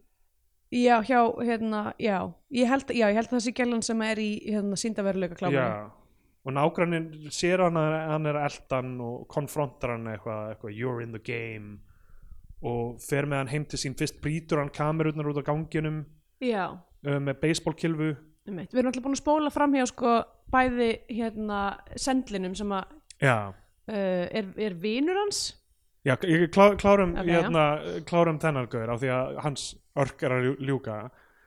Speaker 3: já, hjá, hérna, já ég held, já, ég held að það sé gælan sem er í hérna, síndaveruleika kláma
Speaker 1: og nágrannin sér hann að hann er eldan og konfrontar hann eitthvað, eitthvað you're in the game og fer með hann heim til sín fyrst brýtur hann kamerutnar út á ganginum
Speaker 3: já,
Speaker 1: uh, með baseballkilfu
Speaker 3: einmitt. við erum alltaf búin að spóla fram hjá sko bæði hérna sendlinum sem að
Speaker 1: já,
Speaker 3: uh, er, er vinur hans
Speaker 1: já ég klá, klárum
Speaker 3: Ok,
Speaker 1: okay,
Speaker 3: já.
Speaker 1: hérna, klárum þennan gaur á því að hans örk er að ljú- ljúka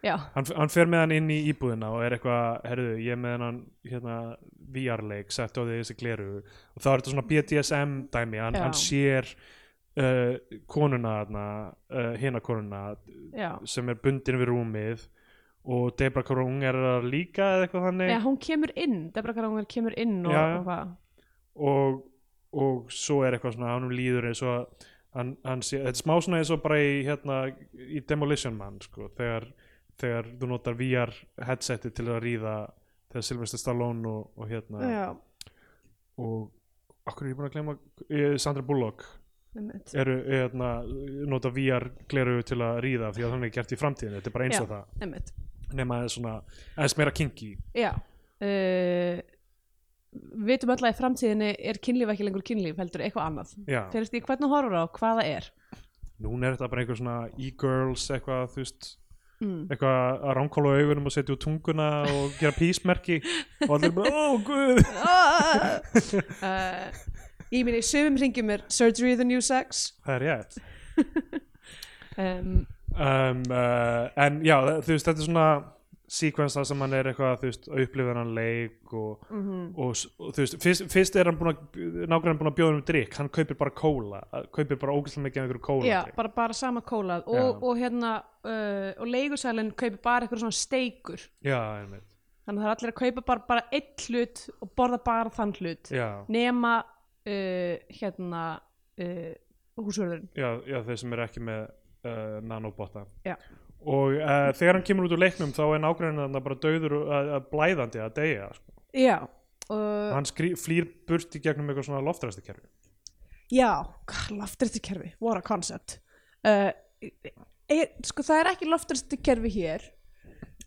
Speaker 3: já,
Speaker 1: hann, hann fer með hann inn í íbúðina og er eitthvað, herruðu, ég er með hann hérna, VR-leik, sett á því þessi gleru og þá er þetta svona BDSM dæmi, hann,
Speaker 3: Já.
Speaker 1: hann sér uh, konuna þarna, uh, hina konuna
Speaker 3: já
Speaker 1: sem er bundin við rúmið og Debra Karung er að líka eða eitthvað þannig
Speaker 3: Nei, hún kemur inn, Debra Karangar kemur inn og,
Speaker 1: Já, já.
Speaker 3: og hvað
Speaker 1: og, og svo er eitthvað svona hann líður eins og að hann, hann sé, þetta er smá svona eins og bara í, hérna, í Demolition Man sko, þegar, þegar þú notar VR headseti til að ríða þegar Sylvester Stallone og, og hérna
Speaker 3: Já,
Speaker 1: og okkur er ég búin að glemma eh, Sandra Bullock
Speaker 3: einmitt.
Speaker 1: eru hérna, nota VR gleru til að ríða því að þannig er gert í framtíðinu þetta er bara eins og það
Speaker 3: einmitt.
Speaker 1: nema aðeins svona aðeins meira kinky
Speaker 3: Já uh, Vitum öll að í framtíðinni er kynlíf ekki lengur kynlíf heldur eitthvað annað
Speaker 1: já,
Speaker 3: Þegar eftir því hvernig þú horfur á hvað það er
Speaker 1: núna er þetta bara einhver svona e-girls eitthvað þú veist *laughs*
Speaker 3: mm.
Speaker 1: eitthvað að ránkóla á augunum og setja úr tunguna og gera písmerki og allir bara, ó guð
Speaker 3: uh, ég meina í sögum ringjum er surgery the new sex
Speaker 1: það er rétt
Speaker 3: um,
Speaker 1: um, uh, en já, þú veist, þetta er svona sequence þar sem hann er eitthvað þú veist, að upplifa hann leik og,
Speaker 3: Mhm.
Speaker 1: og, s- og þú veist, fyrst, fyrst er hann búin að nákvæmlega búin að bjóða um drikk, hann kaupir bara kóla að- kaupir bara ógæslega mikið af einhverju kóla
Speaker 3: já, bara, bara sama kólað
Speaker 1: Já.
Speaker 3: eh, og, og hérna uh, og leigusælinn kaupir bara eitthvað svona steikur
Speaker 1: já einmitt
Speaker 3: þannig að það er allir að kaupa bara, bara einn hlut og borða bara þann hlut
Speaker 1: já,
Speaker 3: nema uh, hérna uh, húsvörðurinn
Speaker 1: já, já, þeir sem eru ekki með uh, nanobotta
Speaker 3: Já.
Speaker 1: og uh, þegar hann kemur út úr leiknum þá er nágrunnin þarna bara döður uh, uh, blæðandi að deyja sko.
Speaker 3: já,
Speaker 1: Og
Speaker 3: uh,
Speaker 1: hann skrí, flýr burt í gegnum eitthvað svona loftræstikerfi
Speaker 3: já loftristikerfi, what a concept uh, er, sko það er ekki loftristikerfi hér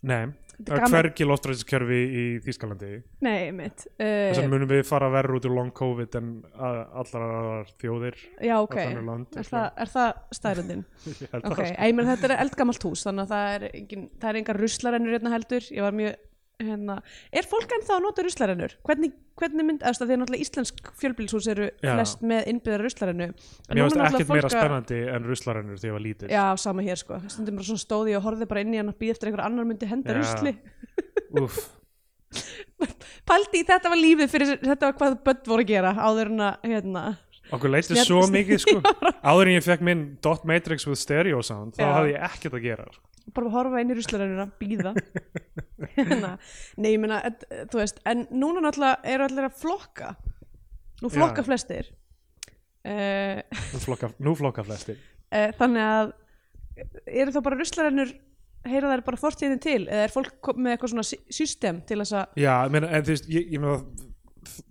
Speaker 1: nei,
Speaker 3: Þetta
Speaker 1: það
Speaker 3: er
Speaker 1: er
Speaker 3: gamla-
Speaker 1: hvergi loftræstikerfi í Þýskalandi
Speaker 3: nei, mitt
Speaker 1: þess
Speaker 3: uh,
Speaker 1: vegna munum við fara verður út úr long COVID en uh, allar aðrar þjóðir
Speaker 3: já, ok,
Speaker 1: öll önnur lönd,
Speaker 3: er það, er það stærundin
Speaker 1: sko. *laughs* Ég held að
Speaker 3: ok,
Speaker 1: það-
Speaker 3: ég menn þetta er eldgamalt hús þannig að það er, engin, það er engar ruslarennur hérna heldur, ég var mjög hérna, er fólk ennþá að nota ruslarennur? hvernig, hvernig mynd, eða því að náttúrulega íslensk fjölbílshús eru
Speaker 1: Já.
Speaker 3: flest með innbyggðar ruslarennu En
Speaker 1: Mér
Speaker 3: núna
Speaker 1: finnst
Speaker 3: náttúrulega
Speaker 1: ekkert meira
Speaker 3: fólk að-
Speaker 1: spennandi en ruslarennur þegar ég var lítill
Speaker 3: já, sama hér sko, stundum bara svona stóði ég og horfði bara inn í hann og býð eftir einhver annar myndi henda
Speaker 1: Já.
Speaker 3: rusli
Speaker 1: Úff,
Speaker 3: pældi í þetta var lífið fyrir þetta var hvað börn voru að gera áður en að hérna,
Speaker 1: okkur leitið
Speaker 3: Snjall-
Speaker 1: svo mikið
Speaker 3: *laughs*
Speaker 1: sko Áður en ég fekk minn dot matrix with stereo sound þá
Speaker 3: Já.
Speaker 1: hafði ég ekkert að gera sko.
Speaker 3: bara horfa inn í ruslarennuna, býða hérna, nei, ég meina et- þú veist, en núna náttúrulega eru allir að flokka nú flokka
Speaker 1: Já.
Speaker 3: flestir uh,
Speaker 1: Nú flokka, nú flokka flestir
Speaker 3: uh, þannig að eru þá bara ruslarennur heyra þær bara fortíðin til eða er fólk kom- með eitthvað svona sy- system til þess að
Speaker 1: Já, ég meina, en þú veist, ég, ég meina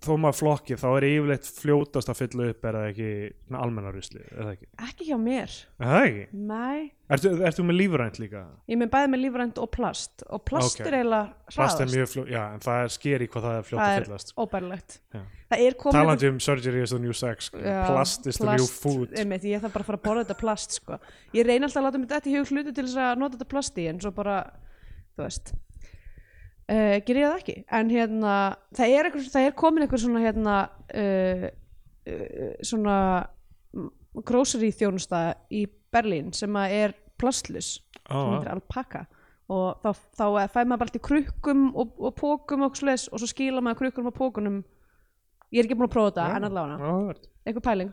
Speaker 1: þó maður flokki, þá er yfirleitt fljótast að fylla upp er það ekki svona almenna rusli, er það ekki?
Speaker 3: ekki hjá mér,
Speaker 1: Er það ekki?
Speaker 3: nei
Speaker 1: Ertu, ertu með lífrænt líka?
Speaker 3: ég með bæði með lífrænt og plast og plast
Speaker 1: Ok.
Speaker 3: er eiginlega
Speaker 1: Plast er
Speaker 3: hraðast,
Speaker 1: mjög fljótt, já, en það er skeri hvað það er fljótt
Speaker 3: það
Speaker 1: að
Speaker 3: er
Speaker 1: fyllast sko.
Speaker 3: óbærilegt
Speaker 1: Já.
Speaker 3: það er komið
Speaker 1: Talandi um surgery is the new sex, sko.
Speaker 3: Já,
Speaker 1: plast is the new
Speaker 3: plast,
Speaker 1: food
Speaker 3: einmitt, ég þarf bara að fara að borða þetta plast sko. ég reyni alltaf að láta mig þetta í hug hluti til þess að nota þetta plast í en svo bara, þú veist uh, gerir ég það ekki en hérna, það er, einhver, það er komin einhver svona hérna uh, uh, svona mm, grocery þjónusta í Berlín sem að er plastlus sem
Speaker 1: Ó,
Speaker 3: heitir alpaka og þá, þá fæ maður bara allt í krukkum og, og pókum og, slis, og svo skila maður krukkum og pókunum ég er ekki búin að prófa þetta, en allavega
Speaker 1: áhugavert.
Speaker 3: eitthvað pæling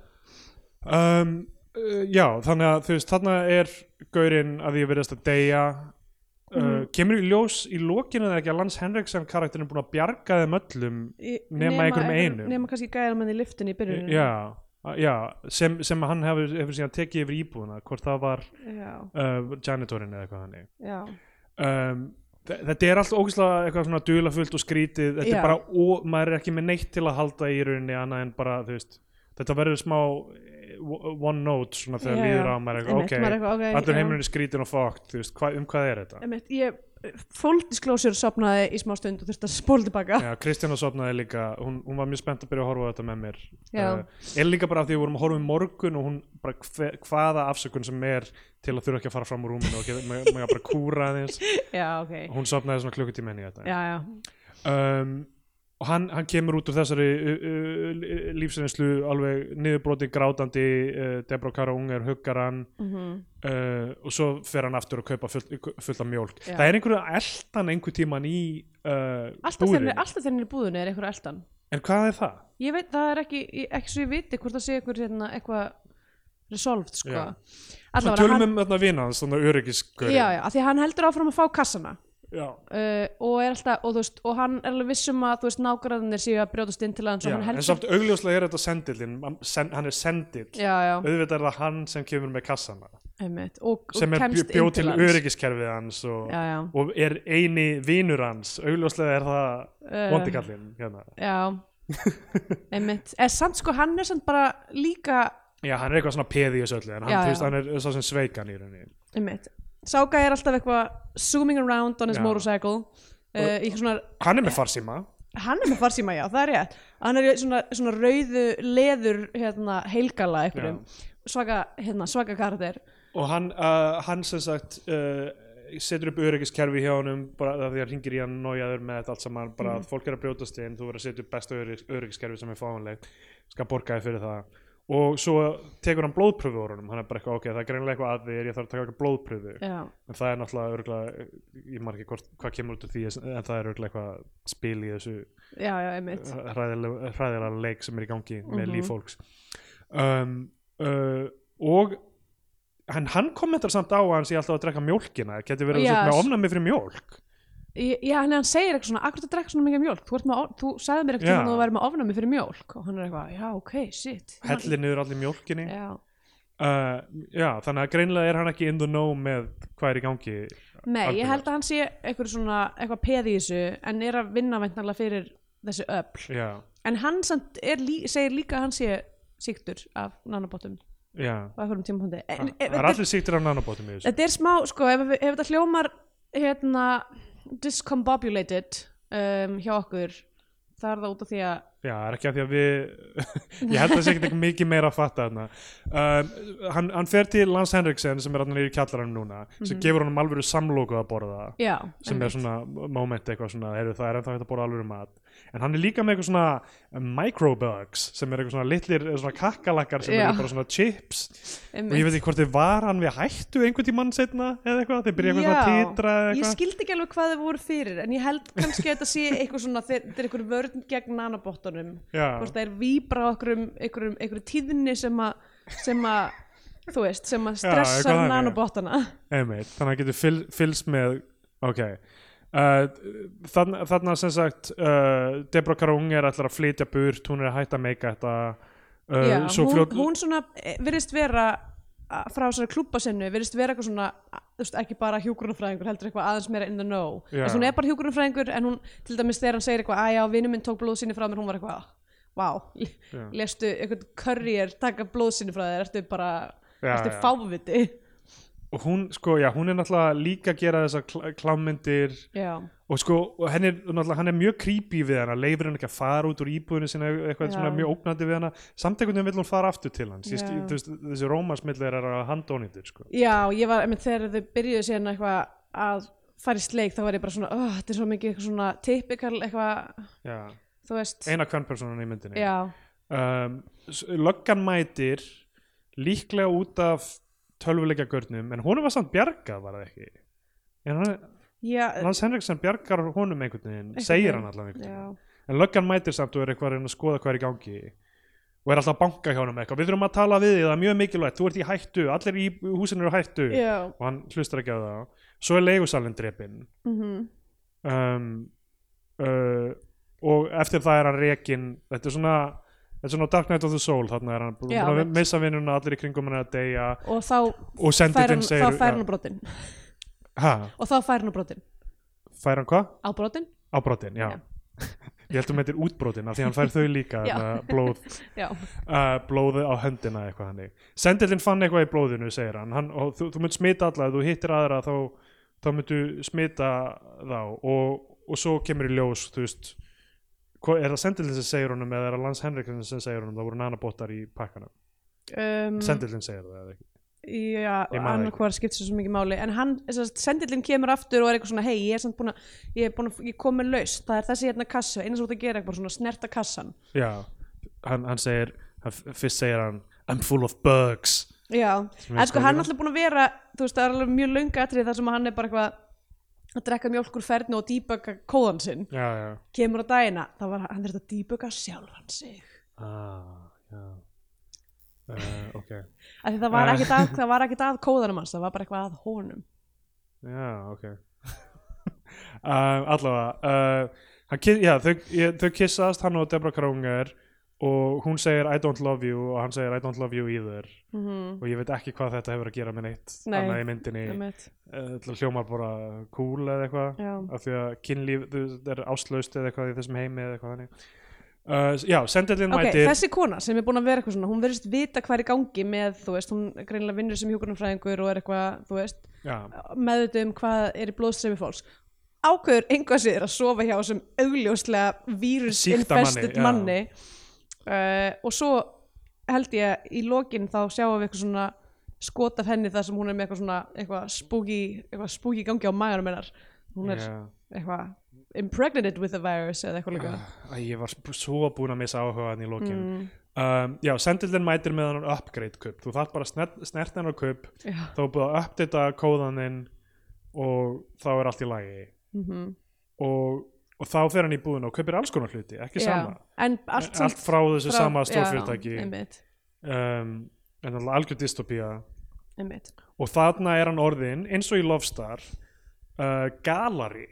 Speaker 1: um, uh, Já, þannig að þú veist, þarna er gaurinn að því að verðast að deyja uh,
Speaker 3: Mhm.
Speaker 1: kemur í ljós í lokinu eða ekki að Lance Henriksen karakterinn er búin að bjarga þeim öllum
Speaker 3: Í-
Speaker 1: Nema einhverjum
Speaker 3: einhver-
Speaker 1: einum.
Speaker 3: nema kannski gæðan mann í liftinu í byrjunum
Speaker 1: já, já sem, sem hann hefur, hefur síðan tekið yfir íbúðuna hvort það var
Speaker 3: já,
Speaker 1: uh, janitorinn eða eitthvað hannig
Speaker 3: já.
Speaker 1: um, þe- þetta er allt ógæslega eitthvað svona duðlafullt og skrítið þetta
Speaker 3: Já.
Speaker 1: er bara, ó, maður er ekki með neitt til að halda í rauninni annað en bara, þú veist þetta verður smá eh, wo- one note svona þegar
Speaker 3: Já,
Speaker 1: líður á
Speaker 3: já.
Speaker 1: maður er
Speaker 3: Einmitt, maður er
Speaker 1: eitthvað, ok,
Speaker 3: eitthvað, ok,
Speaker 1: allur
Speaker 3: já.
Speaker 1: heimurinn er skrítin og fókt, þú veist, hva, um hvað er þetta
Speaker 3: Einmitt, ég fólkdisklósjur sopnaði í smá stund og þurfti að spóla tilbaka
Speaker 1: Já, Kristjana sopnaði líka, hún, hún var mjög spennt að byrja að horfa á þetta með mér uh,
Speaker 3: Já.
Speaker 1: er líka bara af því að við vorum að horfa um morgun og hún bara hve, hvaða afsökun sem er til að þurfa ekki að fara fram úr rúminu og geta- mega mega bara kúra
Speaker 3: *laughs*
Speaker 1: aðeins
Speaker 3: já, ok já,
Speaker 1: hún sopnaði svona klukkutíma inn í þetta
Speaker 3: já,
Speaker 1: um, og hann, hann kemur út úr þessari uh, uh, lífsreynslu alveg niðurbroti grátandi uh, Debra Kara Unger huggar hann
Speaker 3: Mhm.
Speaker 1: uh, og svo fer hann aftur að kaupa full, fullt af mjólk
Speaker 3: Já.
Speaker 1: það er einhverju eldan einhver tíman í uh,
Speaker 3: alltaf
Speaker 1: búðinni,
Speaker 3: þegar alltaf þegar hann er í búðinu er einhver eldan
Speaker 1: en hvað er það?
Speaker 3: ég veit, það er ekki, ég- ekki svo ég viti hvort það sé einhver hérna, eitthvað resolved sko
Speaker 1: Já. Svo
Speaker 3: allavega
Speaker 1: tölum við um þarna vina hans, þannig öryggisgur
Speaker 3: já, já, af því að hann heldur áfram að fá kassana
Speaker 1: já.
Speaker 3: Uh, og er alltaf, og þú veist, og hann er alveg vissum að þú veist, nágræðinir séu að brjótast inn til hans og
Speaker 1: Já,
Speaker 3: hann
Speaker 1: en
Speaker 3: heldur
Speaker 1: samt augljóslega er þetta sendillin sen, hann er sendill,
Speaker 3: já, já,
Speaker 1: auðvitað er það hann sem kemur með kassana,
Speaker 3: einmitt, og, og
Speaker 1: sem er
Speaker 3: kemst
Speaker 1: bjó-
Speaker 3: inn
Speaker 1: bjó til
Speaker 3: hans.
Speaker 1: öryggiskerfið hans og,
Speaker 3: já, já.
Speaker 1: og er eini vinur hans augljóslega er það
Speaker 3: Eh.
Speaker 1: vondikallin hérna. *laughs*
Speaker 3: Já, einmitt En samt sko, hann er samt bara líka
Speaker 1: já, hann er eitthvað svona peð í þessu öllu en hann,
Speaker 3: Já,
Speaker 1: já,
Speaker 3: já.
Speaker 1: veist, hann er svo sem sveikan í rauninni
Speaker 3: einmitt Sáka er alltaf eitthvað zooming around on his
Speaker 1: Já.
Speaker 3: motorcycle uh, í svona,
Speaker 1: hann er með farsíma
Speaker 3: Hann er með farsíma, já, það er rétt Hann er í svona, svona rauðu leður hérna, heilgala einhverjum svaka, hérna, svaka karakter
Speaker 1: og hann, uh, hann sem sagt uh, setur upp öryggiskerfi hjá honum bara af því að hringir í hann nójaður með þetta allt saman bara að fólk er að brjótast inn, þú verður að setja upp besta öryggis- öryggiskerfi sem er fáanleg skal borga þið fyrir það og svo tekur hann blóðpröfu úr honum hann er bara eitthvað ok, það er greinlega eitthvað að þér ég þarf að taka eitthvað blóðpröfu
Speaker 3: Já,
Speaker 1: en það er náttúrulega örgulega, ég margir hvort, hvað kemur út af því en það er örgulega eitthvað spil í þessu
Speaker 3: já, já, einmitt
Speaker 1: hræðilega hræðilega leik sem er í gangi
Speaker 3: Mhm.
Speaker 1: með líf fólks um, uh, og en hann kommentar samt á að hann sé alltaf að drekka mjólkina geti verið
Speaker 3: Já,
Speaker 1: yes. með
Speaker 3: s-
Speaker 1: ofnami fyrir mjólk
Speaker 3: Ég- Já, en hann segir eitthvað svona, akkur það drekka svona mikið mjólk, þú, ert með, of- þú sagði mér eitthvað
Speaker 1: Já.
Speaker 3: að þú væri með ofnami fyrir mjólk og hann er eitthvað, já, ok, shit.
Speaker 1: hellir niður allir mjólkinni
Speaker 3: Já,
Speaker 1: uh, já, þannig að greinlega er hann ekki in the know með hvað er í gangi
Speaker 3: nei,
Speaker 1: Algjörlega.
Speaker 3: ég held að hann sé eitthvað svona, eitthvað peð í þessu, en er að vinna væntanlega fyrir þessi öfl.
Speaker 1: já,
Speaker 3: En hann samt er, lí, segir líka að hann sé síktur af nanobótum
Speaker 1: já
Speaker 3: á einhverjum tímapunkti. En- e,
Speaker 1: það er
Speaker 3: þetta-
Speaker 1: allir sýttir af nanobótum í þessu
Speaker 3: Þetta er smá, sko, ef, ef þetta hljómar hérna, discombobulated um, hjá okkur þá er það út af því að
Speaker 1: Já, það er ekki að því að við *laughs* ég held að það sé ekkert ekki mikið meira að fatta þarna um, hann, hann fer til Lance Henriksen sem er hann í kjallaranum núna
Speaker 3: Mhm.
Speaker 1: sem gefur honum alvöru samlóku að borða
Speaker 3: já,
Speaker 1: sem er
Speaker 3: einmitt.
Speaker 1: svona moment eitthvað svona heyrðu, það er ennþá hægt að borða alvöru mat en hann er líka með eitthvað svona um, microbugs sem er eitthvað svona litlir svona kakkalakkar sem
Speaker 3: Já.
Speaker 1: eru bara svona chips
Speaker 3: Einmitt.
Speaker 1: og ég veit ekki hvort þið var hann við hættu einhvern tímann setna eða eitthvað, þeir byrja eitthvað svona að
Speaker 3: Já,
Speaker 1: titra eða
Speaker 3: Ég
Speaker 1: eitthvað
Speaker 3: skildi ekki alveg hvað þau voru fyrir en ég held kannski að þetta sé eitthvað svona þeir- þetta er eitthvað vörn gegn nanobottunum
Speaker 1: Já.
Speaker 3: hvort það er víbra á einhverjum, einhverjum, einhverjum tíðni sem að sem að, þú veist, sem að
Speaker 1: Já, eitthvað
Speaker 3: stressar
Speaker 1: þannig.
Speaker 3: nanobottana
Speaker 1: Einmitt, þannig að hann getur fyl, fylst með ok uh, þann, þannig að sem sagt uh, Debra Karung er allar að flytja burt hún er að hætta að meika þetta uh,
Speaker 3: Já,
Speaker 1: svo
Speaker 3: hún,
Speaker 1: fljótt
Speaker 3: hún svona eh, virðist vera a- frá þessari klúpa sinnu virðist vera eitthvað svona a- þú veist, ekki bara hjúgrunafræðingur heldur eitthvað aðeins meira in the know
Speaker 1: Já.
Speaker 3: þess hún er bara hjúgrunafræðingur en hún til dæmis þegar hann segir eitthvað að já vinnu minn tók blóð sinni frá mér hún var eitthvað vá,
Speaker 1: Já.
Speaker 3: wow, lestu eitthvað currier taka blóð sinni frá þér ertu bara,
Speaker 1: Já,
Speaker 3: ertu
Speaker 1: já.
Speaker 3: fáviti
Speaker 1: og hún, sko, já, hún er náttúrulega líka að gera þessar klá, klámyndir
Speaker 3: já,
Speaker 1: og sko, og henn er, náttúrulega, hann er mjög creepy við hana, leifir hann ekki að fara út úr íbúðinu sinna, eitthvað
Speaker 3: Já.
Speaker 1: svona mjög ógnandi við hana samt einhvern veginn vill hún fara aftur til hans Ég
Speaker 3: Já.
Speaker 1: skil- þú veist, þessi rómarsmillir er að handónýttur sko.
Speaker 3: já, ég var emitt, þegar þau byrjuðu síðan eitthvað að fara í sleik þá var ég bara svona, oh, þetta er svo mikið eitthvað svona typical eitthvað,
Speaker 1: Já.
Speaker 3: þú veist
Speaker 1: eina kvennpersonan í myndinni
Speaker 3: já,
Speaker 1: um, s- löggan mætir líklega út af tölvuleikja görnum en honum var samt bjargað var það ekki en hann,
Speaker 3: já,
Speaker 1: Lance Henriksen bjargar honum einhvern veginn,
Speaker 3: Einhvern
Speaker 1: segir
Speaker 3: veginn,
Speaker 1: hann allan einhvern
Speaker 3: já.
Speaker 1: veginn en löggan mætir samt og er eitthvað að reyna að skoða hvað er í gangi og er alltaf að banka hjá honum eitthvað við þurfum að tala við þig, það er mjög mikilvægt, þú ert í hættu allir í húsinu eru í hættu
Speaker 3: Já,
Speaker 1: og hann hlustar ekki á það svo er leigusalinn drepinn
Speaker 3: mm
Speaker 1: um, uh, og eftir það er hann rekin þetta er svona þetta er svona Dark Knight of the Soul þarna er hann búin
Speaker 3: Já,
Speaker 1: að
Speaker 3: mitt.
Speaker 1: missa vinnuna allir í kringum hann að deyja
Speaker 3: og þá
Speaker 1: og
Speaker 3: fær
Speaker 1: sendillinn
Speaker 3: hann,
Speaker 1: segir
Speaker 3: þá fær hann á brotin
Speaker 1: ha,
Speaker 3: og þá fær hann á brotin,
Speaker 1: fær hann hvað?
Speaker 3: á brotin
Speaker 1: á brotin, já,
Speaker 3: Já.
Speaker 1: ég held um þetta er útbrotin af því hann fær þau líka
Speaker 3: Já.
Speaker 1: þarna, blóð,
Speaker 3: já,
Speaker 1: uh, blóðu á höndina eitthvað hannig sendillinn fann eitthvað í blóðinu segir hann, hann og þú, þú mynd smita alla ef þú hittir aðra þá, þá myndu smita þá og, og svo kemur í ljós þú veist hva- er það sendillinn sem segir honum eða er það Lance Henriksen sem segir honum það voru nanabottar í pakkanum
Speaker 3: um,
Speaker 1: sendillinn segir það eða ekki
Speaker 3: já
Speaker 1: Ég man það
Speaker 3: annar hvað skiptir svo mikið máli en hann, þess að sendillinn kemur aftur og er eitthvað svona hei, ég er samt búin að, ég er búin að ég kom með laus, það er þessi hérna kassa eina sem þú ert að gera eitthvað svona snerta kassan
Speaker 1: já, hann, hann segir hann, fyrst segir hann I'm full of bugs
Speaker 3: já,
Speaker 1: er
Speaker 3: en sko
Speaker 1: skoðun.
Speaker 3: hann er alltaf búin að vera þú veist, það er alveg mjög löngu atrið þar sem hann er bara eitthvað að drekka mjólkur ferðinu og dýböka kóðan sinn
Speaker 1: já, já,
Speaker 3: kemur á dagina, þá var hann er þetta dýböka sjálfan sig
Speaker 1: ah, já. Uh, ok
Speaker 3: af því það var
Speaker 1: Eh.
Speaker 3: ekkit að, það var ekkit að kóðanum hans það var bara eitthvað að honum
Speaker 1: Já, ok *laughs* um, Allavega uh, kiss, já, þau, ég, þau kissast hann og Debra Krónger og hún segir I don't love you og hann segir I don't love you either
Speaker 3: mm
Speaker 1: og ég veit ekki hvað þetta hefur að gera með neitt
Speaker 3: Nei.
Speaker 1: annað í myndinni uh, til að hljómar bara cool eða eitthvað
Speaker 3: já.
Speaker 1: af því að kynlíf þú veist, er áslaust eða eitthvað í þessum heimi eða eitthvað þannig uh, Já, sendillinn
Speaker 3: ok,
Speaker 1: mætir
Speaker 3: þessi kona sem er búin að vera eitthvað svona hún verðist vita hvað er í gangi með þú veist, hún greinilega vinnur sem hjúkurnafræðingur og er eitthvað, þú veist,
Speaker 1: já,
Speaker 3: meðvitað um hvað er í blóðstreymi fólks ákveður einhvað sér að sofa hjá sem augljóslega
Speaker 1: Sýkta
Speaker 3: vírusinfested manni,
Speaker 1: manni,
Speaker 3: Uh, og svo held ég að í lokin þá sjáum við eitthvað svona skot af henni þar sem hún er með eitthvað svona eitthvað spooky, eitthvað spooky í gangi á maganum hennar hún er
Speaker 1: já.
Speaker 3: eitthvað impregnated with the virus eða eitthvað líka Mm.
Speaker 1: Æ, ég var sp- svo búin að missa áhugaðan í lokin um, Já, sendillinn mætir með hann upgrade kupp, þú þarf bara snert, snert hennar kupp,
Speaker 3: Já.
Speaker 1: þá er búið að uppdata kóðaninn og þá er allt í lagi
Speaker 3: Mhm.
Speaker 1: og, og þá fer hann í búðuna og kaupir alls konar hluti, ekki
Speaker 3: Já.
Speaker 1: sama
Speaker 3: en allt,
Speaker 1: allt,
Speaker 3: samt
Speaker 1: frá þessu
Speaker 3: frá-
Speaker 1: sama
Speaker 3: já,
Speaker 1: stórfyrirtæki um,
Speaker 3: einmitt,
Speaker 1: en náttúrulega algjör dystopía
Speaker 3: einmitt.
Speaker 1: og þarna er hann orðinn eins og í Love Star uh, galari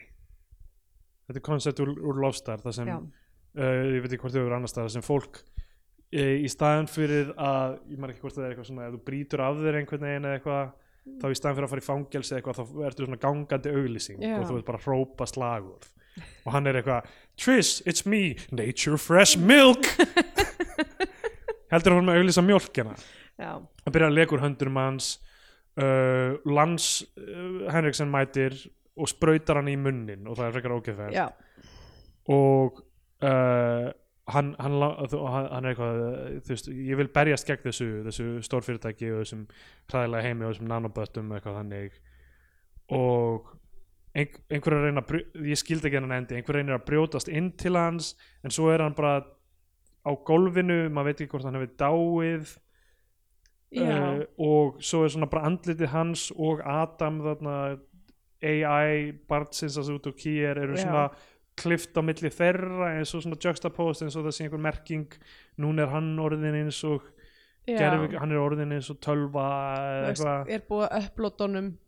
Speaker 1: þetta er koncept úr, úr lofstar það sem,
Speaker 3: Já.
Speaker 1: uh, ég veit ekki hvort þau eru annars staðar sem fólk uh, í staðan fyrir að, ég maður ekki hvort það er eitthvað svona ef þú brýtur af þér einhvern veginn eða eitthvað þá í staðan fyrir að fara í fangelsi eða eitthvað þá ertu svona gangandi auglýsing
Speaker 3: Já.
Speaker 1: og þú veit bara að hrópa slagorð og hann er eitthvað Triss, it's me, nature fresh
Speaker 3: *laughs*
Speaker 1: milk heldur að hún með auglýsa mjólkina
Speaker 3: Já.
Speaker 1: hann byrjar að leka úr höndunum hans uh, Lans uh, Henriksen mætir og sprautar hann í munnin og það er frekar ógeðferð
Speaker 3: Já.
Speaker 1: og uh, hann, hann, lá- þú- hann hann er eitthvað uh, þú veist, ég vil berjast gegn þessu, þessu stórfyrirtæki og þessum hræðilega heimi og þessum nanoböttum eitthvað þannig og ein, einhverju reyna að brjó- ég skildi ekki hennan endi, einhverju reynir að brjótast inn til hans en svo er hann bara á gólfinu, maður veit ekki hvort hann hefur dáið
Speaker 3: Já.
Speaker 1: Eh, og svo er svona bara andlitið hans og Adam þarna AI barnsins að út og kýr eru
Speaker 3: Já.
Speaker 1: svona klift á milli þeirra eins og svona juxtapost eins og það sé einhver merking núna er hann orðin eins og
Speaker 3: Já.
Speaker 1: gerfi, hann er orðin eins og tölva
Speaker 3: Þú
Speaker 1: eða
Speaker 3: veist,
Speaker 1: eitthvað
Speaker 3: er búið að upplota honum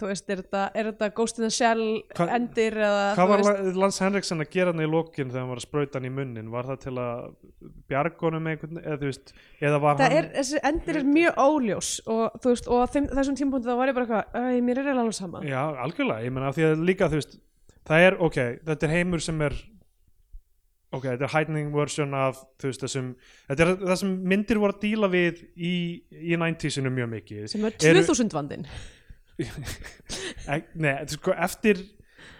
Speaker 3: þú veist, er þetta, er þetta Ghost in the Shell
Speaker 1: Hva-
Speaker 3: endir eða,
Speaker 1: Hvað
Speaker 3: þú
Speaker 1: var
Speaker 3: veist,
Speaker 1: La- Lance Henriksen að gera hann í lokin þegar hann var að sprauta hann í munnin? Var það til að bjarga honum einhvern, eða þú veist, eða var
Speaker 3: það
Speaker 1: hann...
Speaker 3: er, þessi endir er mjög óljós og þú veist, og á þeim, þessum tímpúndi þá var ég bara eitthvað, "Æ, mér er eiginlega alveg sama
Speaker 1: Já, algjörlega, ég menna af því að líka þú veist, það er, ok, þetta er heimur sem er ok, þetta er heightening version af þú veist þessum, þetta er það sem myndir voru að díla við í, í 90-sinu mjög mikið
Speaker 3: sem er
Speaker 1: Eru-
Speaker 3: 2000 vandinn
Speaker 1: e, Nei, þetta er sko eftir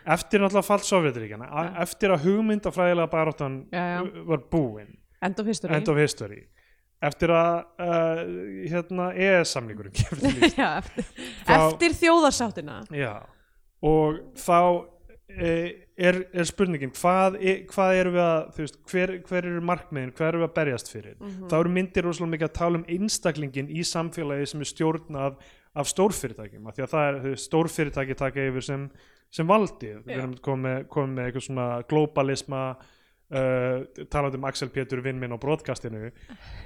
Speaker 1: eftir náttúrulega fall Sovjetiríkjana a- eftir að hugmyndafræðilega baráttan
Speaker 3: Já, já.
Speaker 1: var búin
Speaker 3: end of history *laughs*
Speaker 1: end of history eftir að uh, hérna ES-samlingurinn kemur til
Speaker 3: já, eftir,
Speaker 1: Þá-
Speaker 3: eftir þjóðarsáttina
Speaker 1: Já, og þá eh, er, er spurningin hvað, e- hvað erum við að þú veist, hver, hver eru markmiðin, hvað erum við að berjast fyrir
Speaker 3: Mhm.
Speaker 1: þá eru myndir rosalega mikið að tala um einstaklingin í samfélagi sem er stjórn af, af stórfyrirtækjum af því að það er þú veist, stórfyrirtæki taka yfir sem, sem valdið við
Speaker 3: Já.
Speaker 1: erum komið með, komið með eitthvað svona globalisma Uh, talandi um Axel Pétur vinn minn á
Speaker 3: *laughs*
Speaker 1: broadcastinu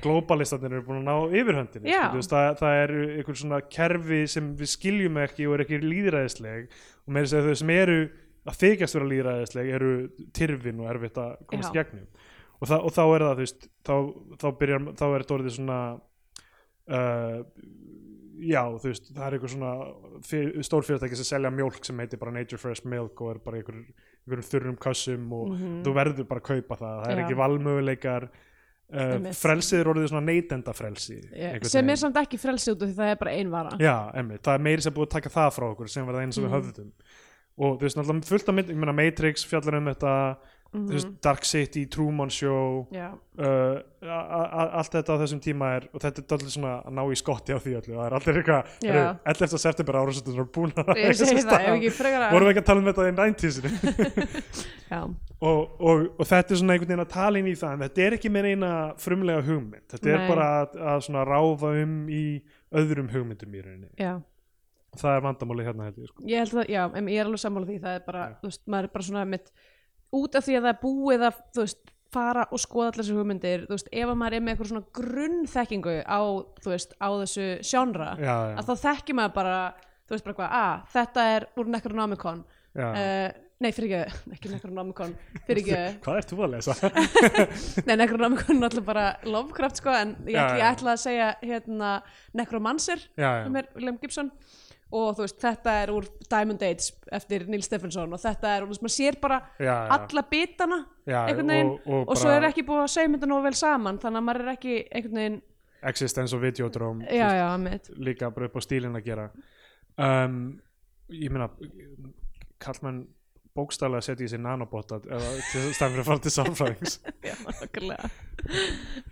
Speaker 1: globalistarnir eru búin að ná yfirhöndinu sko,
Speaker 3: Já.
Speaker 1: þú veist, það, það er einhver svona kerfi sem við skiljum ekki og er ekki líðræðisleg og með þess að segja þau sem eru að þykjast vera líðræðisleg eru tyrfin og erfitt að komast
Speaker 3: Já.
Speaker 1: gegnum og, það, og þá er það þú veist þá, þá, byrjar, þá er þetta orðið svona uh, já þú veist það er einhver svona stórfyrirtæki sem selja mjólk sem heitir bara Nature Fresh Milk og er bara einhver, einhverjum þurrum kassum og þú verður bara að kaupa það það er
Speaker 3: Mhm. Já.
Speaker 1: ekki valmöguleikar uh,
Speaker 3: Einmitt.
Speaker 1: frelsið er orðið svona neytendafrelsi
Speaker 3: Já,
Speaker 1: einhvern
Speaker 3: sem
Speaker 1: veginn.
Speaker 3: er samt ekki frelsi út af því það er bara ein vara
Speaker 1: Já, emmi, það er meiri sem búið að taka það frá okkur sem var það eins
Speaker 3: Mhm.
Speaker 1: og við höfðum og þú veist, náttúrulega fullt af mynd, ég meina Matrix fjallar um þetta, þú veist, Dark City Truman Show
Speaker 3: Mhm. já,
Speaker 1: *laughs* uh, a- a- a- allt þetta á þessum tíma er og þetta er allir svona að ná í skotti á því öllu það er allir eitthvað,
Speaker 3: Já.
Speaker 1: yeah. 11. september ára sem þetta er búin að
Speaker 3: ég segi það, ef ekki frekar
Speaker 1: vorum við ekki að tala um þetta í 90-sinu
Speaker 3: já,
Speaker 1: *laughs* og, og, og þetta er svona einhvern veginn að tala inn í það en þetta er ekki með eina frumlega hugmynd þetta er
Speaker 3: Nei.
Speaker 1: bara að, að svona ráfa um í öðrum hugmyndum í rauninni
Speaker 3: já,
Speaker 1: það er vandamálið hérna held ég sko.
Speaker 3: ég held að, já, em, ég er alveg sammála því það er bara, þú veist, maður er bara svona mitt, út af því að það er búið að, þú veist, fara og skoða allar þessu hugmyndir, þú veist, ef að maður er með eitthvað svona grunnþekkingu á, þú veist, á þessu sjónra,
Speaker 1: já, já,
Speaker 3: að þá þekkir maður bara, þú veist, bara hvað, að, þetta er úr Necronomicon,
Speaker 1: já.
Speaker 3: uh, nei, fyrir ekki, *laughs* ekki Necronomicon, fyrir ekki,
Speaker 1: hvað ert þú að lesa?
Speaker 3: Nei, Necronomicon er alltaf bara Lovecraft sko, en ég,
Speaker 1: Já,
Speaker 3: ætla, ég
Speaker 1: já.
Speaker 3: ætla að segja hérna Necromancer
Speaker 1: já, já,
Speaker 3: sem er William Gibson og þú veist, þetta er úr Diamond Age eftir Neil Stephenson og þetta er, og þú veist, maður sér bara
Speaker 1: já, já.
Speaker 3: alla bitana
Speaker 1: Já,
Speaker 3: einhvern veginn
Speaker 1: og-
Speaker 3: og,
Speaker 1: og
Speaker 3: svo
Speaker 1: bara-
Speaker 3: er ekki búið að segja mynda nógu vel saman þannig að maður er ekki einhvern veginn
Speaker 1: existence og videodróm þú
Speaker 3: já,
Speaker 1: veist,
Speaker 3: já, mitt
Speaker 1: líka bara upp á stílinn að gera um, ég meina kallmenn bókstælega setja í sig nanobotta eða til stæðan fyrir að fara til samfræðings
Speaker 3: *laughs* *laughs* já,
Speaker 1: *laughs*
Speaker 3: okkurlega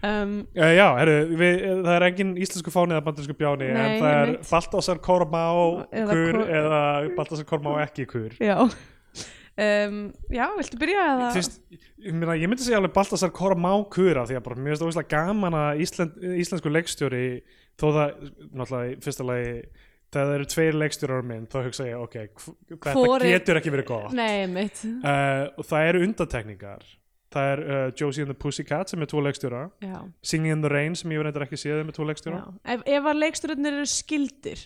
Speaker 3: um,
Speaker 1: Uh, já, heru, við, eh, það er engin íslensku fáni eða bandarísku bjáni
Speaker 3: Nei,
Speaker 1: en það er
Speaker 3: einmitt.
Speaker 1: Baltasar Kormá
Speaker 3: Eða
Speaker 1: kur
Speaker 3: Kor-
Speaker 1: eða Baltasar Kormá ekki kur
Speaker 3: já um, já, viltu byrja eða
Speaker 1: Fyrst, ég, meina, ég myndi segja alveg Baltasar Kormá kura því að bara mér finnst ógeðslega gaman að Ísland, íslensku leikstjóri þó það, náttúrulega í fyrsta lagi þegar það eru tveir leikstjórar minn þá hugsa ég, ok, hv- þetta
Speaker 3: Hvor er-
Speaker 1: getur ekki verið gott
Speaker 3: nei, mitt
Speaker 1: uh, og það eru undantekningar það er uh, Josie and the Pussycat sem er tvo leikstjóra
Speaker 3: já,
Speaker 1: Singing in the Rain sem ég verið ekki séð er með tvo
Speaker 3: já.
Speaker 1: leikstjóra
Speaker 3: Ef, ef að leiksturinnir eru skildir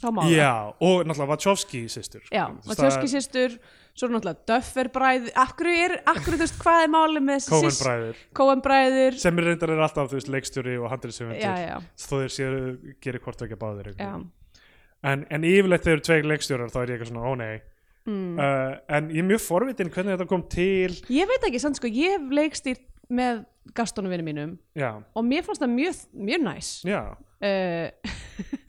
Speaker 3: þá má það
Speaker 1: Já, og náttúrulega Wachowski systur
Speaker 3: Já, Matjóski sýstur, svo er náttúrulega Duffer bræður, akkur er, akkur þú veist hvað er málið með þessi
Speaker 1: Coen bræður
Speaker 3: Coen bræður
Speaker 1: sem er reyndar er alltaf þú veist, leikstjóri og handriðsöfundur
Speaker 3: Já, já,
Speaker 1: þó þeir séu gerir hvort ekki báðir einhvern
Speaker 3: já,
Speaker 1: veginn. en, en yfirleitt þegar eru tveir leikstjórar þá er ég eitthvað svona, ó nei
Speaker 3: mm.
Speaker 1: uh, en ég er mjög forvitin hvernig þetta kom til
Speaker 3: Ég veit ekki, sann sko, ég hef leikstýrt með Gastonum vinnu mínum
Speaker 1: já,
Speaker 3: og mér fannst það mjög, mjög næs
Speaker 1: já
Speaker 3: uh,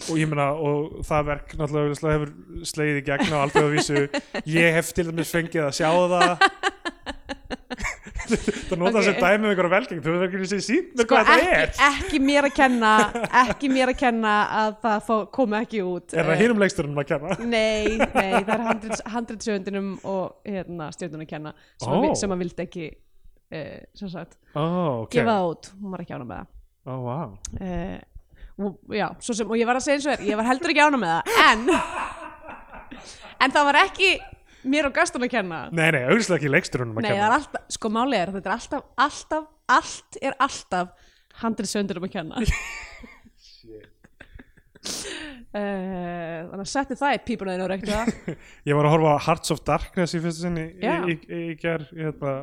Speaker 1: og ég meina, og það verk náttúrulega augljóslega hefur slegið í gegn á aldrei að vísu
Speaker 3: *laughs*
Speaker 1: ég hef til dæmis fengið að sjá það það nota
Speaker 3: Ok.
Speaker 1: okay. sem dæmi um einhverja velgeng þú verður ekki að segja sínt mér
Speaker 3: sko,
Speaker 1: hvað þetta
Speaker 3: ekki,
Speaker 1: er
Speaker 3: ekki mér að kenna ekki mér að kenna að það fó- kom ekki út
Speaker 1: er
Speaker 3: Eh,
Speaker 1: það hinum leikstjórunum að kenna
Speaker 3: Nei, nei, það er handrits- handritshöfundinum og hérna, stjórnunum kenna sem,
Speaker 1: Ó.
Speaker 3: oh. sem að vildi ekki uh, sem sagt,
Speaker 1: ó, ok,
Speaker 3: gefa það út hún var ekki ána með
Speaker 1: ó, wow
Speaker 3: það uh, og, já, svo sem, og ég var að segja eins og þér ég var heldur ekki ána með það en, en það var ekki mér og Gaston að kenna
Speaker 1: nei, nei, augljóslega ekki leikstjórunum að
Speaker 3: Nei, það
Speaker 1: kenna
Speaker 3: er alltaf, sko málið er, þetta er alltaf, alltaf, allt er alltaf handritshöfundinum um að kenna *laughs* Uh, þannig að settu það í pípunaðinu og reyktu það
Speaker 1: Ég var að horfa á Hearts of Darkness í fyrsta sinni í,
Speaker 3: Já.
Speaker 1: í, í, í ger, hérna,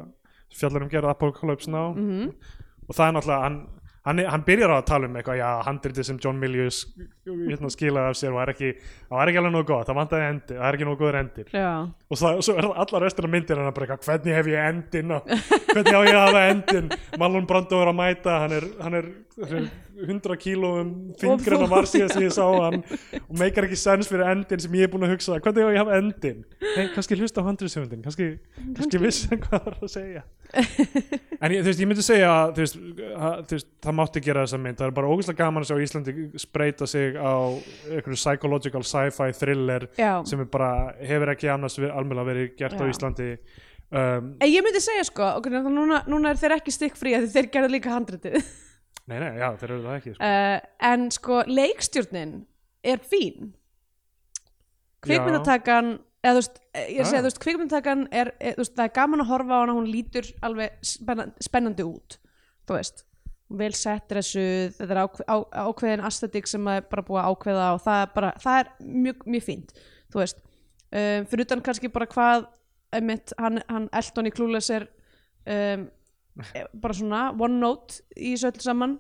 Speaker 1: fjallar um gerð Apocalypse Now og það er náttúrulega hann, hann, er- hann byrjar á að tala um eitthvað, já, handritið sem John Milius hérna, skilaði af sér og er ekki, það er ekki alveg nógu gott, það vantaði endir, það er ekki nógu góður endir
Speaker 3: Já,
Speaker 1: og, það, og svo er það allar restina myndir hann bara eitthvað, hvernig hef ég endin og hvernig á ég að hafa endin Malon Brando er að mæta, hann er, hann er, hann er um 100 kílóum þingrinn
Speaker 3: þú-
Speaker 1: að var síðast sem ég sá hann og meikar ekki sens fyrir endin sem ég er búin að hugsa hvernig á ég að hafa endin hey, kannski hlusta á handriðsöfundin, kannski, kannski vissi hann hvað það er að segja en ég, þú veist, ég myndi segja að, þú veist, að, þú veist, það mátti gera þessa mynd það er bara ógeðslega gaman að sjá Íslandi spreita sig á einhverju psychological sci-fi thriller
Speaker 3: já.
Speaker 1: sem er bara hefur ekki annars ver, almjöla verið gert á
Speaker 3: Já.
Speaker 1: Íslandi um,
Speaker 3: En ég myndi segja sko, ok, ná- núna, núna er þeir ekki stikkfrí að þeir gerðu líka handritið uh,
Speaker 1: nei, nei, já, þeir eru það ekki sko.
Speaker 3: en sko, leikstjórnin er fín kvikmyndatakan eða þú veist, eh, ég er að
Speaker 1: Já.
Speaker 3: segja, þú veist, kvikmyndatakan er, er, þú veist, það er gaman að horfa á hana hún lítur alveg spennandi, spennandi út þú veist, vel sett dressuð, þetta er ákve, á, ákveðin aesthetic sem maður er bara búið að ákveða og það er bara, það er mjög, mjög fínt þú veist, um, fyrir utan kannski bara hvað, einmitt, hann, hann Elton í Clueless er um, eh, bara svona one note í þessu öll saman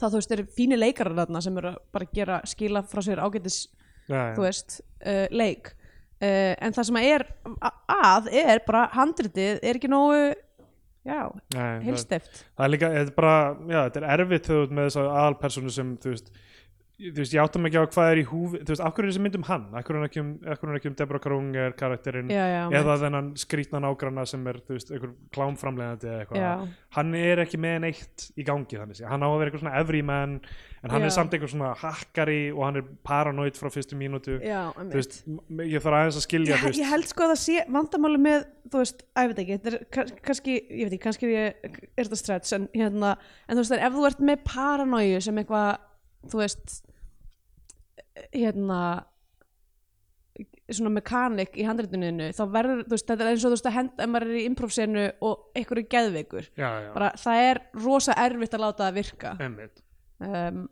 Speaker 3: þá þú veist, eru fínir leikarar þarna sem eru að bara að gera, skila frá sér ágætis
Speaker 1: já,
Speaker 3: þú
Speaker 1: já.
Speaker 3: veist, uh, leik uh, en það sem að er a- að er bara handritið er ekki nógu já,
Speaker 1: Nei, það,
Speaker 3: heilsteft
Speaker 1: það er líka, þetta er bara já, þetta er erfitt þú veist, með þess að aðalpersonu sem þú veist, þú veist, ég átta mig ekki á hvað er í húfi þú veist, af hverju er þessi mynd um hann af hverju er hann ekki um, af hverju er hann ekki um Deborah Krunger karakterinn
Speaker 3: já, já,
Speaker 1: Mm. eða þennan skrýtna nágranna sem er, þú veist, einhver klámframlegandi eða eitthvað,
Speaker 3: Já.
Speaker 1: hann er ekki með neitt í gangi þannig sé, hann á að vera eitthvað svona everyman en hann
Speaker 3: Já.
Speaker 1: er samt einhver svona hakkari og hann er paranoid frá fyrstu mínútu
Speaker 3: já,
Speaker 1: þú
Speaker 3: einmitt.
Speaker 1: veist, m- ég þarf aðeins að skilja
Speaker 3: ég,
Speaker 1: þú veist,
Speaker 3: ég held sko að það sé vandamáli með þú veist, að ég veit ekki, þetta er kann- kannski ég veit ekki, kannski er, ég, er þetta stretch en, hérna, en þú veist, en ef þú ert með paranóju sem eitthvað, þú veist hérna svona mekanik í handrituninu þá verður, þú veist, þetta er eins og þú veist að henda ef maður er í improvsenu og einhverju geðveikur
Speaker 1: já, já,
Speaker 3: bara, það er rosa erfitt að láta það virka
Speaker 1: einmitt
Speaker 3: um,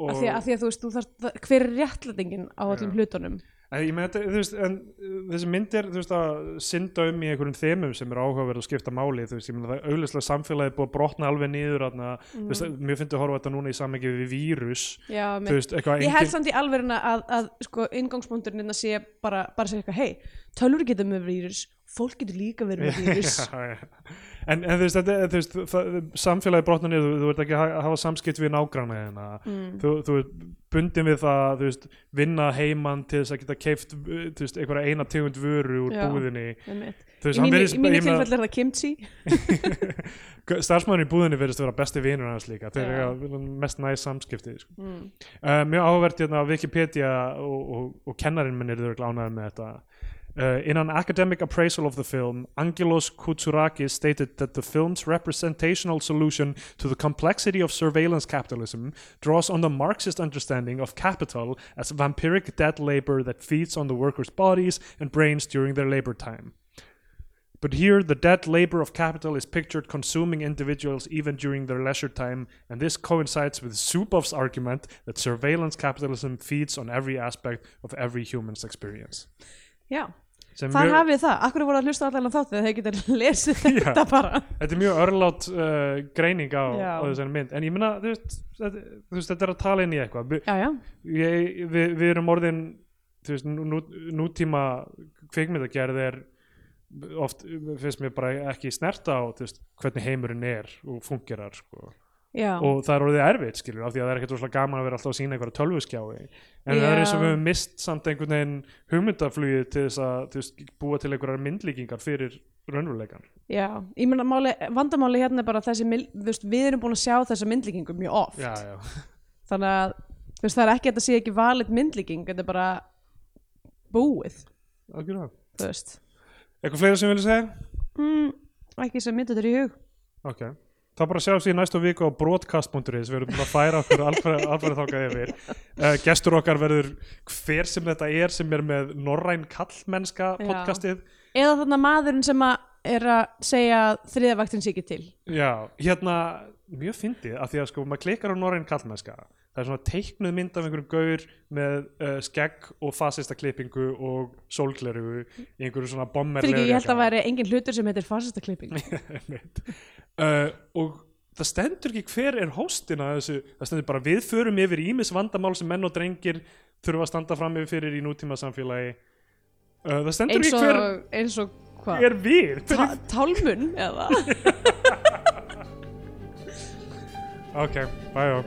Speaker 1: og,
Speaker 3: af, því, af því að þú veist þú þarf, það- hver er réttlætingin á öllum
Speaker 1: Já.
Speaker 3: hlutunum
Speaker 1: En ég meina, þetta, þú veist, en uh, þessi mynd er, þú veist, að synda um í einhverjum þemum sem eru áhugaverð og skipta máli, þú veist, ég meina, það er auðvitað samfélagið er búið að brotna alveg niður, þarna, þú veist,
Speaker 3: Mm.
Speaker 1: mjög fyndi að horfa á þetta núna í samengi við vírus,
Speaker 3: Já,
Speaker 1: þú veist, eitthvað
Speaker 3: ég held samt í alverðina að, að sko, ingangspunkturinn að sé bara, bara segja eitthvað hei, tölur getur með vírus fólk getur líka verið með vírus
Speaker 1: *laughs* Já, já. en, en þú veist, þetta, er- þú veist það, samfélagi brotnar niður, þú, þú ert ekki að ha- hafa samskipt við nágranna þeirna
Speaker 3: Mm.
Speaker 1: þú, þú ert bundin við það þú veist, vinna heiman til þess að geta keift veist, einhverja eina tegund vöru úr
Speaker 3: Já.
Speaker 1: búðinni
Speaker 3: einmitt.
Speaker 1: Þú
Speaker 3: í
Speaker 1: hann
Speaker 3: mínu,
Speaker 1: virðist-
Speaker 3: í
Speaker 1: ég
Speaker 3: mínu
Speaker 1: meina-
Speaker 3: tilfell er það kimchi
Speaker 1: starfsmæðurinn í búðinni verðist að vera besti vinur hans líka þeir
Speaker 3: Já.
Speaker 1: eru mest næs samskipti sko.
Speaker 3: Mm.
Speaker 1: uh, mjög áhverjt hérna á Wikipedia og, og, og kennarinn minn er þau glánaður með þetta Uh, in an academic appraisal of the film, Angelos Koutsouraki stated that the film's representational solution to the complexity of surveillance capitalism draws on the Marxist understanding of capital as vampiric dead labor that feeds on the workers' bodies and brains during their labor time. But here, the dead labor of capital is pictured consuming individuals even during their leisure time, and this coincides with Zubov's argument that surveillance capitalism feeds on every aspect of every human's experience.
Speaker 3: Já,
Speaker 1: Sem
Speaker 3: þar
Speaker 1: mjög-
Speaker 3: hafið það. Akkur voru að hlusta allan þátt þegar þeir geta *laughs* lesið
Speaker 1: *laughs* Já.
Speaker 3: þetta bara.
Speaker 1: Þetta er mjög örlátt uh, greining á,
Speaker 3: Já.
Speaker 1: á þessari mynd en ég meina, þú veist, þetta, þú veist, þetta er að tala inn í eitthvað Vi,
Speaker 3: Já, já.
Speaker 1: ég, við, við erum orðin þú veist, nú, nú- nútíma kvikmyndagerð er oft finnst mér bara ekki snerta á þú veist, hvernig heimurinn er og fungerar sko.
Speaker 3: Já,
Speaker 1: og það er orðið erfitt skilur af því að það er ekkert rosalega gaman að vera alltaf að sína einhverja tölvuskjái en það
Speaker 3: Já.
Speaker 1: er eins og við höfum mist samt einhvern veginn hugmyndaflugið til þess að þú veist, búa til einhverjar myndlíkingar fyrir raunveruleikan
Speaker 3: já. Ég meina, máli, vandamáli hérna er bara þessi, mil- þú veist, við erum búin að sjá þessa myndlíkingu mjög oft.
Speaker 1: já, já.
Speaker 3: Þannig að, þú veist, það er ekki að þetta sé ekki valið myndlíking, þetta er bara búið,
Speaker 1: Algjörlega.
Speaker 3: þú veist.
Speaker 1: Eitthvað fleira sem við vilja segja?
Speaker 3: Mm, ekki sem myndið þetta í hug.
Speaker 1: Ok. Þá bara sjáum við í næstu viku á broadcast.is við erum búin að færa okkur alfæri þákað yfir. Uh, gestur okkar verður hver sem þetta er sem er með Norræn Kallmennska
Speaker 3: Já.
Speaker 1: podcastið.
Speaker 3: Eða þarna maðurinn sem að er að segja að þriðavaktin sé ekki til.
Speaker 1: Já, hérna, mjög fyndið af því að sko, maður klikkar á Norræn Kallmennska það er svona teiknuð mynd af einhverjum gaur með uh, skegg og fasista klippingu og sólgleru í einhverju svona
Speaker 3: Fyrir
Speaker 1: bommerlegu
Speaker 3: ekki, ég held
Speaker 1: jakka.
Speaker 3: að það væri engin hlutur sem heitir farsistaklipping.
Speaker 1: *laughs* Einmitt. uh, og það stendur ekki hver er hóstin að þessu, það stendur bara við förum yfir ímis vandamál sem menn og drengir þurfa að standa fram yfir fyrir í nútíma samfélagi uh, það stendur
Speaker 3: eins
Speaker 1: ekki
Speaker 3: og,
Speaker 1: hver
Speaker 3: eins og hvað?
Speaker 1: er við *laughs*
Speaker 3: Ta tálmun eða?
Speaker 1: ok, bæjó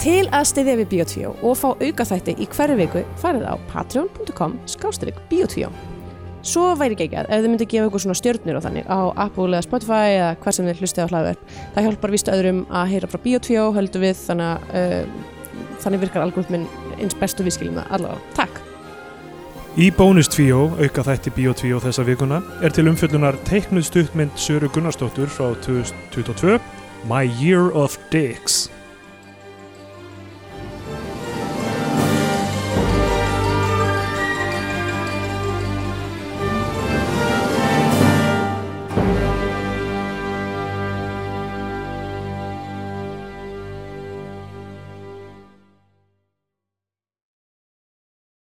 Speaker 4: Til að styðja við Bíotvíó og fá aukaþætti í hverju viku farið á patreon.com skástrík Bíotvíó. Svo væri geggjað ef þið myndi gefa ykkur svona stjörnir og þannig á Apple eða Spotify eða hvað sem þið hlustið á hlaðverk. Það hjálpar vístu öðrum að heyra frá Bíotvíó, höldum við, þannig, að, uh, þannig virkar algoritminn eins best og við skiljum það allavega. Takk!
Speaker 1: Í bónustvíó, auka þætti Bíotvíó þessa vikuna, er til umfjöllunar teiknuð stuttmynd Söru Gunnarsdóttur frá 2022 My Year of Dicks